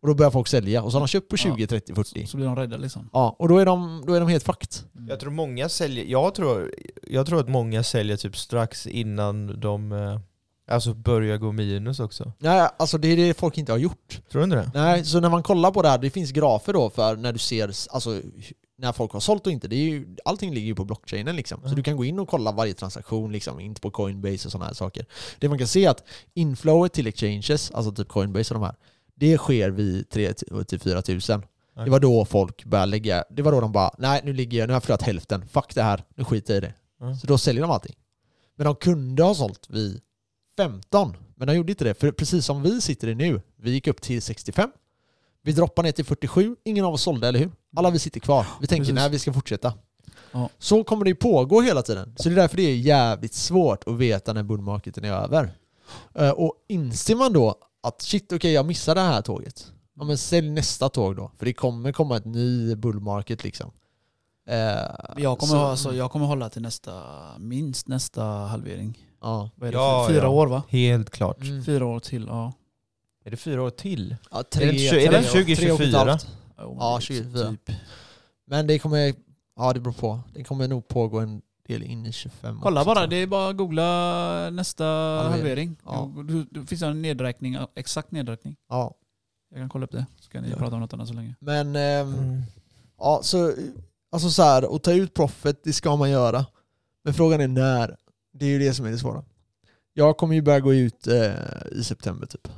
Och då börjar folk sälja och så har de köpt på 20, Ja. 30, 40. Så blir de rädda liksom. Ja, och då är de, då är de helt fucked. Jag tror många säljer, jag tror, jag tror att många säljer typ strax innan de eh, alltså börjar gå minus också. Nej, alltså det är det folk inte har gjort. Tror du inte det? Nej, så när man kollar på det här, det finns grafer då för när du ser, alltså hu- när folk har sålt och inte. Det är ju, allting ligger ju på blockchainen liksom. Så Mm. du kan gå in och kolla varje transaktion liksom, inte på Coinbase och sådana här saker. Det man kan se är att inflowet till exchanges, alltså typ Coinbase och de här, det sker vid 3 000 till 4 000. Nej. Det var då folk började lägga, det var då de bara, nej nu ligger jag, nu har jag förlorat hälften, fuck det här, nu skiter jag i det. Mm. Så då säljer de allting. Men de kunde ha sålt vid 15, men de gjorde inte det. För precis som vi sitter i nu, vi gick upp till 65, vi droppar ner till 47, ingen av oss sålde, eller hur? Alla vi sitter kvar. Vi tänker, Precis. nej vi ska fortsätta. Ja. Så kommer det ju pågå hela tiden. Så det är därför det är jävligt svårt att veta när bullmarketen är över. Eh, Och inser man då att shit, okej jag missar det här tåget. Ja men sälj nästa tåg då, för det kommer komma ett ny bullmarket liksom. Eh, Jag kommer, så- ha, alltså, jag kommer hålla till nästa, minst nästa halvering. Ja. Vad är det? Ja, för- Fyra ja. år va? Helt klart. Mm. Fyra år till, ja. Är det fyra år till? Ja, Är det tre, inte tjugo- är det tre år- tre och ett 2024? halvt. Jo, Ja, Oh, det är 24. Typ. Men det kommer, ja det beror på. Det kommer nog pågå en del in i 25 Kolla också, bara, tror jag. det är bara att googla nästa halvering. Ja. Då- då- Då finns det en nedräkning, exakt nedräkning. Ja. Jag kan kolla upp det, så kan ni Ja. prata om något annat så länge. Men, Mm. ehm, ja så, alltså så här, att ta ut profit, det ska man göra. Men frågan är när. Det är ju det som är det svåra. Jag kommer ju börja gå ut eh, i september typ.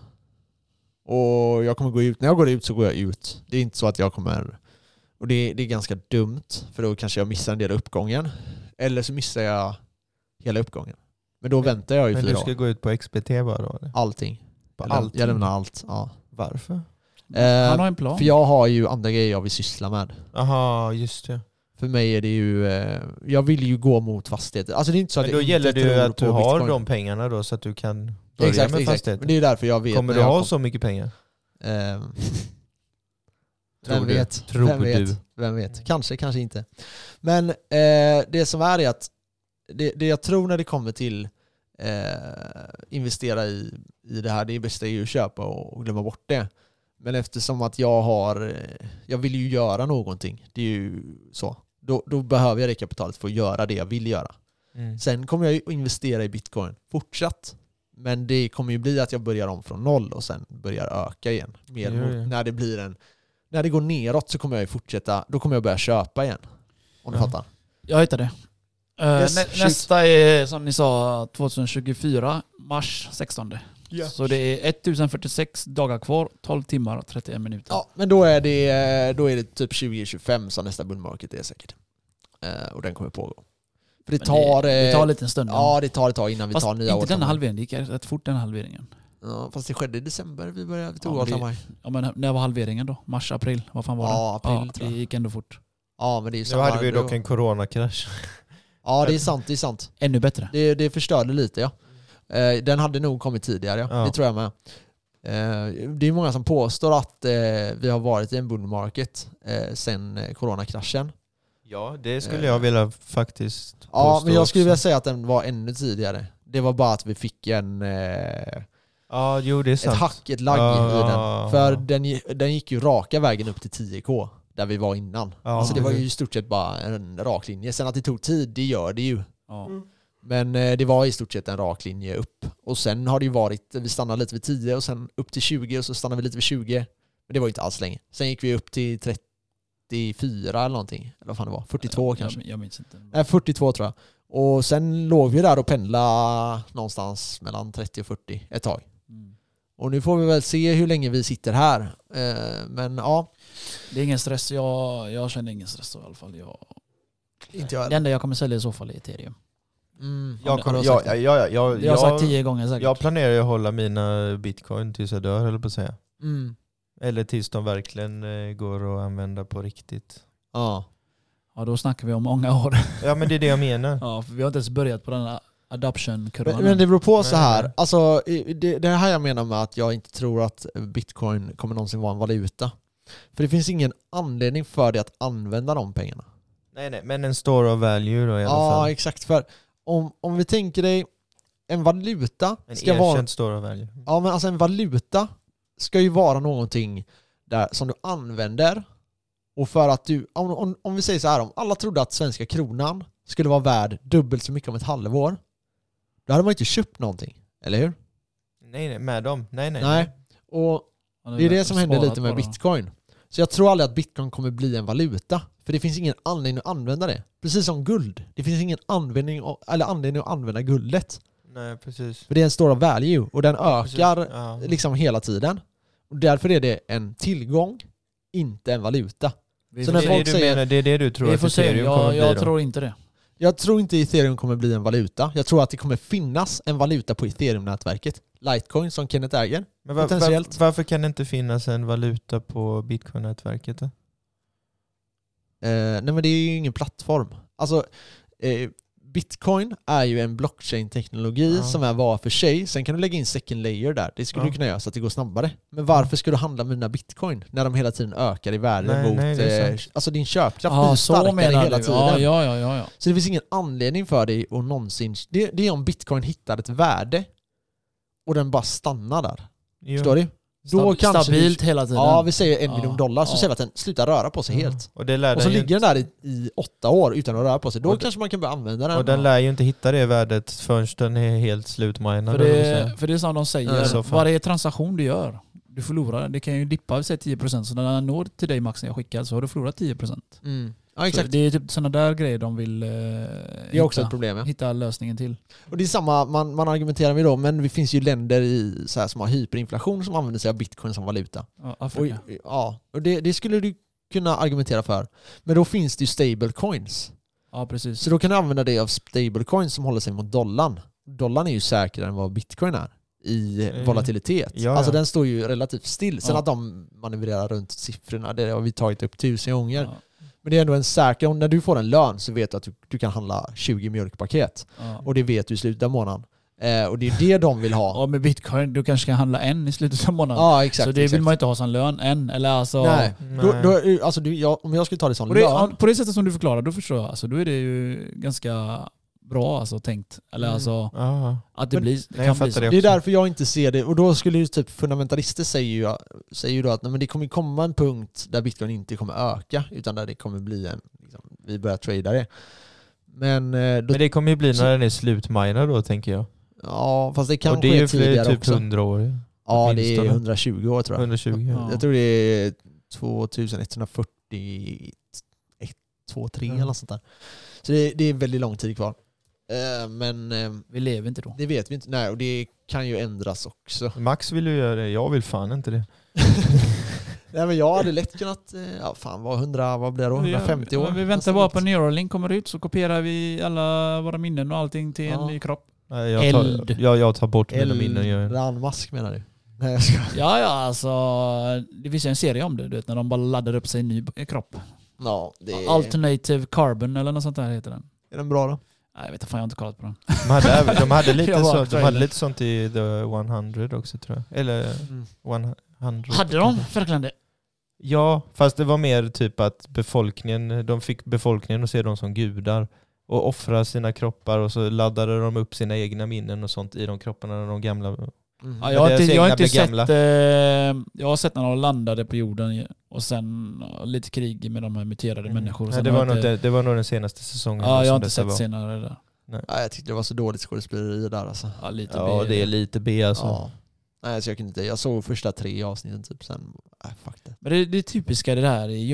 Och jag kommer gå ut, när jag går ut så går jag ut. Det är inte så att jag kommer, och det, det är ganska dumt, för då kanske jag missar en del av uppgången. Eller så missar jag hela uppgången. Men då väntar jag ju Men fyra du år. ska gå ut på XBT bara då? Eller? Allting. På Jag, läm- allt? jag lämnar allt. Ja. Varför? Eh, Han har en plan. För jag har ju andra grejer jag vill syssla med. Aha, just det. För mig är det ju, eh, jag vill ju gå mot fastigheter. Alltså det är inte så att Men då jag gäller inte det ju tror att du på har bitcoin. de pengarna då så att du kan börja Exakt, med exakt. fastigheten. Men det är ju därför jag vet. Kommer när du jag ha kom- så mycket pengar? Ehm, Tror Vem du? vet? Tror Vem du? vet? Vem vet? Kanske, kanske inte. Men eh, det som är är att det, det jag tror när det kommer till eh, investera i, i det här, det är bästa är ju att köpa och, och glömma bort det. Men eftersom att jag har, eh, jag vill ju göra någonting, det är ju så. Då, då behöver jag det kapitalet för att göra det jag vill göra. Mm. Sen kommer jag ju att investera i bitcoin fortsatt. Men det kommer ju bli att jag börjar om från noll och sen börjar öka igen. Mer Jo, mot, jo. När det blir en... När det går neråt så kommer jag ju fortsätta, då kommer jag börja köpa igen. Om du Ja. fattar? Jag hittade. Eh, Yes, nä- shoot. nästa är som ni sa 2024, mars 16. Så det är 1046 dagar kvar, 12 timmar och 31 minuter. Ja, men då är det, då är det typ 2025 som nästa bull market är säkert. Eh, och den kommer pågå. För det Men tar... det, det tar eh, en liten stund. Ja, det tar ett tag innan vi Fast tar nya inte denna årtal. halveringen, det gick rätt fort den halveringen. Ja, fast det skedde i december vi började, vi tog Ja, men det- årtal maj. Ja, men när var halveringen då? Mars, april? Vad fan var Ja, det? april, tror det jag. gick ändå fort. Ja, men det är ju Nu samma- hade vi ju dock en coronakrasch. Ja, det är sant, det är sant. Ännu bättre. Det, det förstörde lite ja. Eh, Den hade nog kommit tidigare, ja. Ja. det tror jag med. Eh, Det är många som påstår att eh, vi har varit i en bull market eh, sen eh, coronakraschen. Ja, det skulle jag vilja faktiskt påstå Eh. Ja, men jag skulle vilja också. säga att den var ännu tidigare. Det var bara att vi fick en, eh, Ja, jo det är sant. ett hack, ett lagg i Ja. den. För den, gi- den gick ju raka vägen upp till 10K, där vi var innan. Ja, Alltså det var ju precis. i stort sett bara en rak linje. Sen att det tog tid, det gör det ju. Ja. Men eh, det var i stort sett en rak linje upp. Och sen har det ju varit, vi stannade lite vid 10 och sen upp till 20 och så stannade vi lite vid 20. Men det var ju inte alls länge. Sen gick vi upp till 34 eller någonting. Eller vad fan det var, 42 jag, kanske. Äh. Jag, jag minns inte. Nej, 42 tror jag. Och sen låg vi där och pendlade någonstans mellan 30 och 40 ett tag. Mm. Och nu får vi väl se hur länge vi sitter här. Eh, Men ja, Det är ingen stress. Jag, jag känner ingen stress då, i alla fall. Jag, inte jag det enda jag kommer sälja i så fall är ethereum. mm. Jag, Ja, kommer, det har jag, jag jag, jag, jag, Det har jag sagt jag, tio gånger säkert. jag planerar ju att hålla mina bitcoin tills jag dör, höll jag på att säga. Mm. Eller tills de verkligen eh, går att använda på riktigt. Ja. Ja, då snackar vi om många år. Ja, men det är det jag menar. Ja, för vi har inte ens börjat på den här adoption-kurvan. Men, men det beror på så Nej, här. nej. Alltså, i- det, det är här jag menar med att jag inte tror att bitcoin kommer någonsin vara en valuta. För det finns ingen anledning för dig att använda de pengarna. Nej, nej, men en store of value då i alla Ja, fall. exakt. För om, om vi tänker dig en valuta En ska vara... erkänt store value. Ja men alltså en valuta ska ju vara någonting där, som du använder och för att du, om, om, om vi säger så här, om alla trodde att svenska kronan skulle vara värd dubbelt så mycket om ett halvår, då hade man ju inte köpt någonting, eller hur? Nej, nej, med dem. Nej, nej. Nej. Och det är det som händer lite med bitcoin. Så jag tror aldrig att bitcoin kommer bli en valuta. För det finns ingen anledning att använda det. Precis som guld. Det finns ingen användning, eller anledning att använda guldet. Nej, precis. För det är en stor value och den Precis. ökar Ja. liksom hela tiden. Och därför är det en tillgång, inte en valuta. Vi Så får när det, se. är folk det, du säger- menar, det är det du tror Vi att får se. ethereum kommer Jag, bli jag då? tror inte det. Jag tror inte ethereum kommer bli en valuta. Jag tror att det kommer finnas en valuta på ethereum-nätverket. Litecoin som Kenneth äger. Men var, potentiellt. var, varför kan det inte finnas en valuta på bitcoin-nätverket? då? Eh, nej men det är ju ingen plattform. Alltså, eh, Bitcoin är ju en blockchain-teknologi Ja. som är var för sig. Sen kan du lägga in second layer där. Det skulle Ja. du kunna göra så att det går snabbare. Men varför ska du handla med dina bitcoin när de hela tiden ökar i värde Nej, mot... nej, det är eh, sant. alltså din köpkraft Ah, blir så starkare menar hela du? tiden. Ja, ja, ja, ja, ja. Så det finns ingen anledning för dig att någonsin... Det, det är om bitcoin hittar ett värde och den bara stannar där. Jo. Förstår du? Då Stab- kanske vi- Stabilt hela tiden. Ja, vi säger en Ja, miljon dollar, så ja. Mm. säger vi att den slutar röra på sig Ja. helt. Mm. Och, det lär Och så den ju ligger den där i, i åtta år utan att röra på sig. Då Och det- kanske man kan börja använda inte, den. och den lär ju inte hitta det värdet förrän den är helt slutminad. För eller vad man det, säger. för det är som de säger, Ja, så fan. varje transaktion du gör, du förlorar. Det kan ju dippa, vi säger 10%, så när den når till dig maxen jag skickar så har du förlorat 10%. Mm. Ja, Så exakt. det är typ sådana där grejer de vill eh, Det är också hitta, ett problem. Ja. hitta lösningen till. Och det är samma, man, man argumenterar med då, men det finns ju länder i, så här, som har hyperinflation som använder sig av bitcoin som valuta. Ja, Och, Afrika. ja, och det, det skulle du kunna argumentera för. Men då finns det ju stablecoins. Ja, precis. Så då kan du använda dig av stablecoins som håller sig mot dollarn. Dollarn är ju säkrare än vad bitcoin är i Eh, volatilitet. ja, ja. Alltså den står ju relativt still. Sen Ja. att de manövrerar runt siffrorna, det har vi tagit upp tusen gånger. Ja, Men det är ändå en säker, och när du får en lön så vet du att du, du kan handla 20 mjölkpaket. Mm. ja. Och det vet du i slutet av månaden. Eh, och det är det de vill ha. ja, med bitcoin, du kanske kan handla en i slutet av månaden. ja, exakt. så det exakt. vill man inte ha som lön än. Eller alltså, Nej. Då, Nej. då, alltså, du, jag, om jag skulle ta det som Och det, ja, lön, på det sättet som du förklarar, då förstår jag. Alltså, då är det ju ganska bra alltså, tänkt. Eller Mm. alltså, Ja. att det Men- blir... Det Nej, kan jag bli fattar så. det det är också. därför jag inte ser det. Och då skulle ju typ fundamentalister säger ju, säger ju då att nej, men det kommer komma en punkt där bitcoin inte kommer öka, utan där det kommer bli en, liksom, vi börjar trada det. Men, eh, då, Men det kommer ju bli Så- när den är slutminad då, tänker jag. ja, fast det kan och det är ske ju för tidigare typ också. 100 år. Ja, det är åtminstone. 120 år tror jag. 120. Ja. Jag tror det är 2141, 2, 3 Ja. eller något sånt där. Så det, det är väldigt lång tid kvar. Eh, Men eh, Vi lever inte då. det vet vi inte. Nej, och det kan ju ändras också. Max vill ju göra det, jag vill fan inte det. Nej, men jag hade lätt kunnat, eh, ja fan vad 100, vad blir det då? 150 år? Ja, Vi väntar Nästan bara något. på Neuralink kommer ut så kopierar vi alla våra minnen och allting till Ja. en ny kropp. Nej, Jag tar, Eld. jag, jag tar bort mina minnen. Jag, Elon Musk menar du? Nej jag skojar. Ja, ja, alltså. Det finns ju en serie om det, du vet, när de bara laddar upp sig i en ny kropp. Ja, det är, Alternative Carbon eller något sånt där heter den. är den bra då? Nej, jag vet inte, fan jag har inte kollat på den. de, hade, de, hade lite Jag bara, så, de trailer. hade lite sånt i The 100 också tror jag. Eller Mm. 100. Hade de verkligen Mm. det? Ja, fast det var mer typ att befolkningen, de fick befolkningen att se dem som gudar och offra sina kroppar och så laddade de upp sina egna minnen och sånt i de kropparna, de gamla. Mm. Ja, Men jag, har deras inte, jag har egna inte blir sett... gamla. Eh, jag har sett när de landade på jorden och sen ja, lite krig med de här muterade människor. och Mm. Nej, sen det, har var jag nog, inte- det, det var nog den senaste säsongen. Ja, jag som har inte detta sett var. senare där. Ja, jag tyckte det var så dåligt skådespeleri där alltså. Ja, lite Ja, B. det är lite B alltså. Ja. Nej, så jag kunde inte. Jag såg första tre avsnitten typ, sen, äh, fuck det. Men det, det är typiska det här i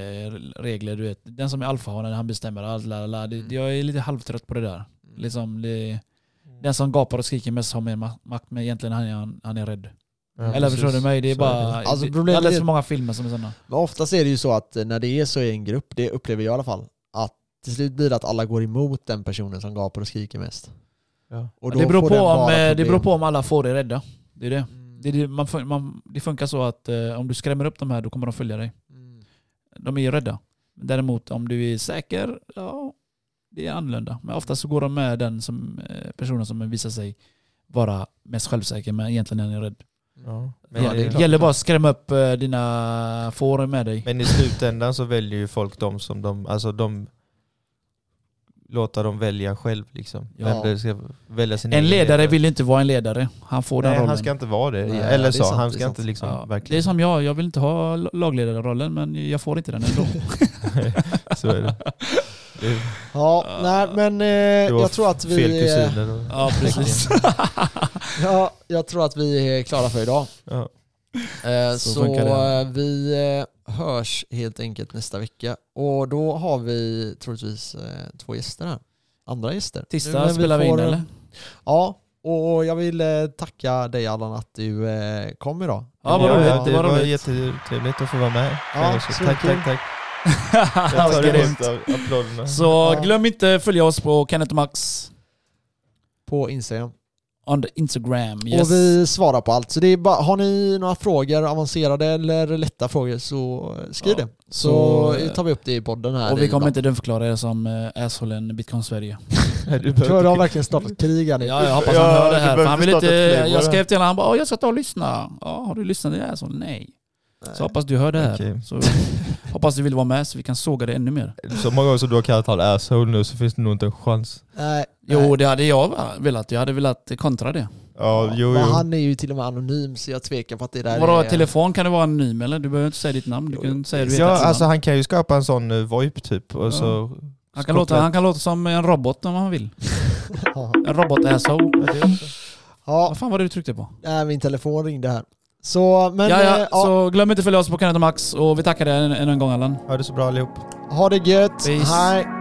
djungelregler, du vet. Den som är alfahanen, han bestämmer allt. la, la, la. Det- Jag är lite halvtrött på det där. Mm. Liksom det, den som gapar och skriker mest har mer ma- makt, men egentligen han är, han, han är rädd. Mm. Ja, Eller precis. förstår du mig? Det är Så bara... Alltså, det, problemet jag har är- läst så många filmer som är sådana. Men oftast är det ju så att eh, när det är så i en grupp, det upplever jag i alla fall, att till slut blir det att alla går emot den personen som gapar och skriker mest. Ja. Och det, beror får på den om, bara eh, det problem. beror på om alla får dig rädda. Det är det. Mm. Det, är det, man, fun- man, det funkar så att eh, om du skrämmer upp de här, då kommer de följa dig. Mm. De är ju rädda. Däremot om du är säker, ja, det är annorlunda. Men ofta så går de med den som, eh, personen som visar sig vara mest självsäker, men egentligen är rädd. Ja. Men, Men ja, det det gäller bara att skrämma upp eh, dina får med dig. men i slutändan så väljer ju folk de som de, alltså de låta dem välja själv. Liksom. Ja. Vem det ska välja sin En egen ledare vill inte vara en ledare. Han får den Nej, rollen. han ska inte vara det. Nej, det är Eller så, sant, det han är ska sant. inte liksom, Ja, det är verkligen. som jag, jag vill inte ha lagledarrollen men jag får inte den ändå. Så är det. Det är- Ja, nej men eh, det var jag tror att Fel vi... eh, kusiner. Och, ja, precis. Ja, jag tror att vi är klara för idag. ja. Eh, Så så funkar det. eh, vi eh, hörs helt enkelt nästa vecka. Och då har vi troligtvis eh, två gäster här. Andra gäster. Nu Tisdag när spelar vi in får- eller? Ja, och jag vill eh, tacka dig Allan att du eh, kom idag. Ja, vad var roligt, det vad var roligt. jättetrevligt att få vara med. Ja, Så så tack, kul. tack, tack. Jag Vad tar grymt. emot applåderna. Så Ja. glöm inte följa oss på Kenneth och Max På Instagram. on the Instagram. Yes. Och vi svarar på allt. Så det är bara, har ni några frågor, avancerade eller lätta frågor så eh, skriv Ja, det. Så, så, eh, tar vi upp det i podden här. Och vi i- kommer inte dumförklara er som eh, assholen Bitcoin Sverige. Du Jag tror behöver de har verkligen startat krig här nu. Ja, jag hoppas Ja, han hör det du här. För behöver han vill starta inte, ett flavor jag här. skrev till honom, han bara "Åh, jag ska ta och lyssna. Ja, har du lyssnat till det här? Så, nej. Så hoppas du hör det här. Okej. Så, hoppas du vill vara med så vi kan såga det ännu mer. Så många gånger som du har kallat han asshole nu så finns det nog inte en chans. Nej, nej. Jo, det hade jag va- velat. Jag hade velat kontra det. Ja, jo, Men jo. han är ju till och med anonym så jag tvekar på att det där Vadå, är... telefon kan det vara anonym eller? Du behöver inte säga ditt namn. Du Jo, kan säga du heter Ja, ett alltså namn. han kan ju skapa en sån eh, VoIP typ. Och så han, kan låta, han kan låta som en robot om han vill. En robot-asshole. ja, Vad fan var det du tryckte på? nej, min telefon ringde här. Så, men ja, ja, eh, ja, så glöm inte att följa oss på Kenneth och Max och vi tackar dig än än en gång Allan. Ha det så bra allihop. ha det gött. Peace. Hej.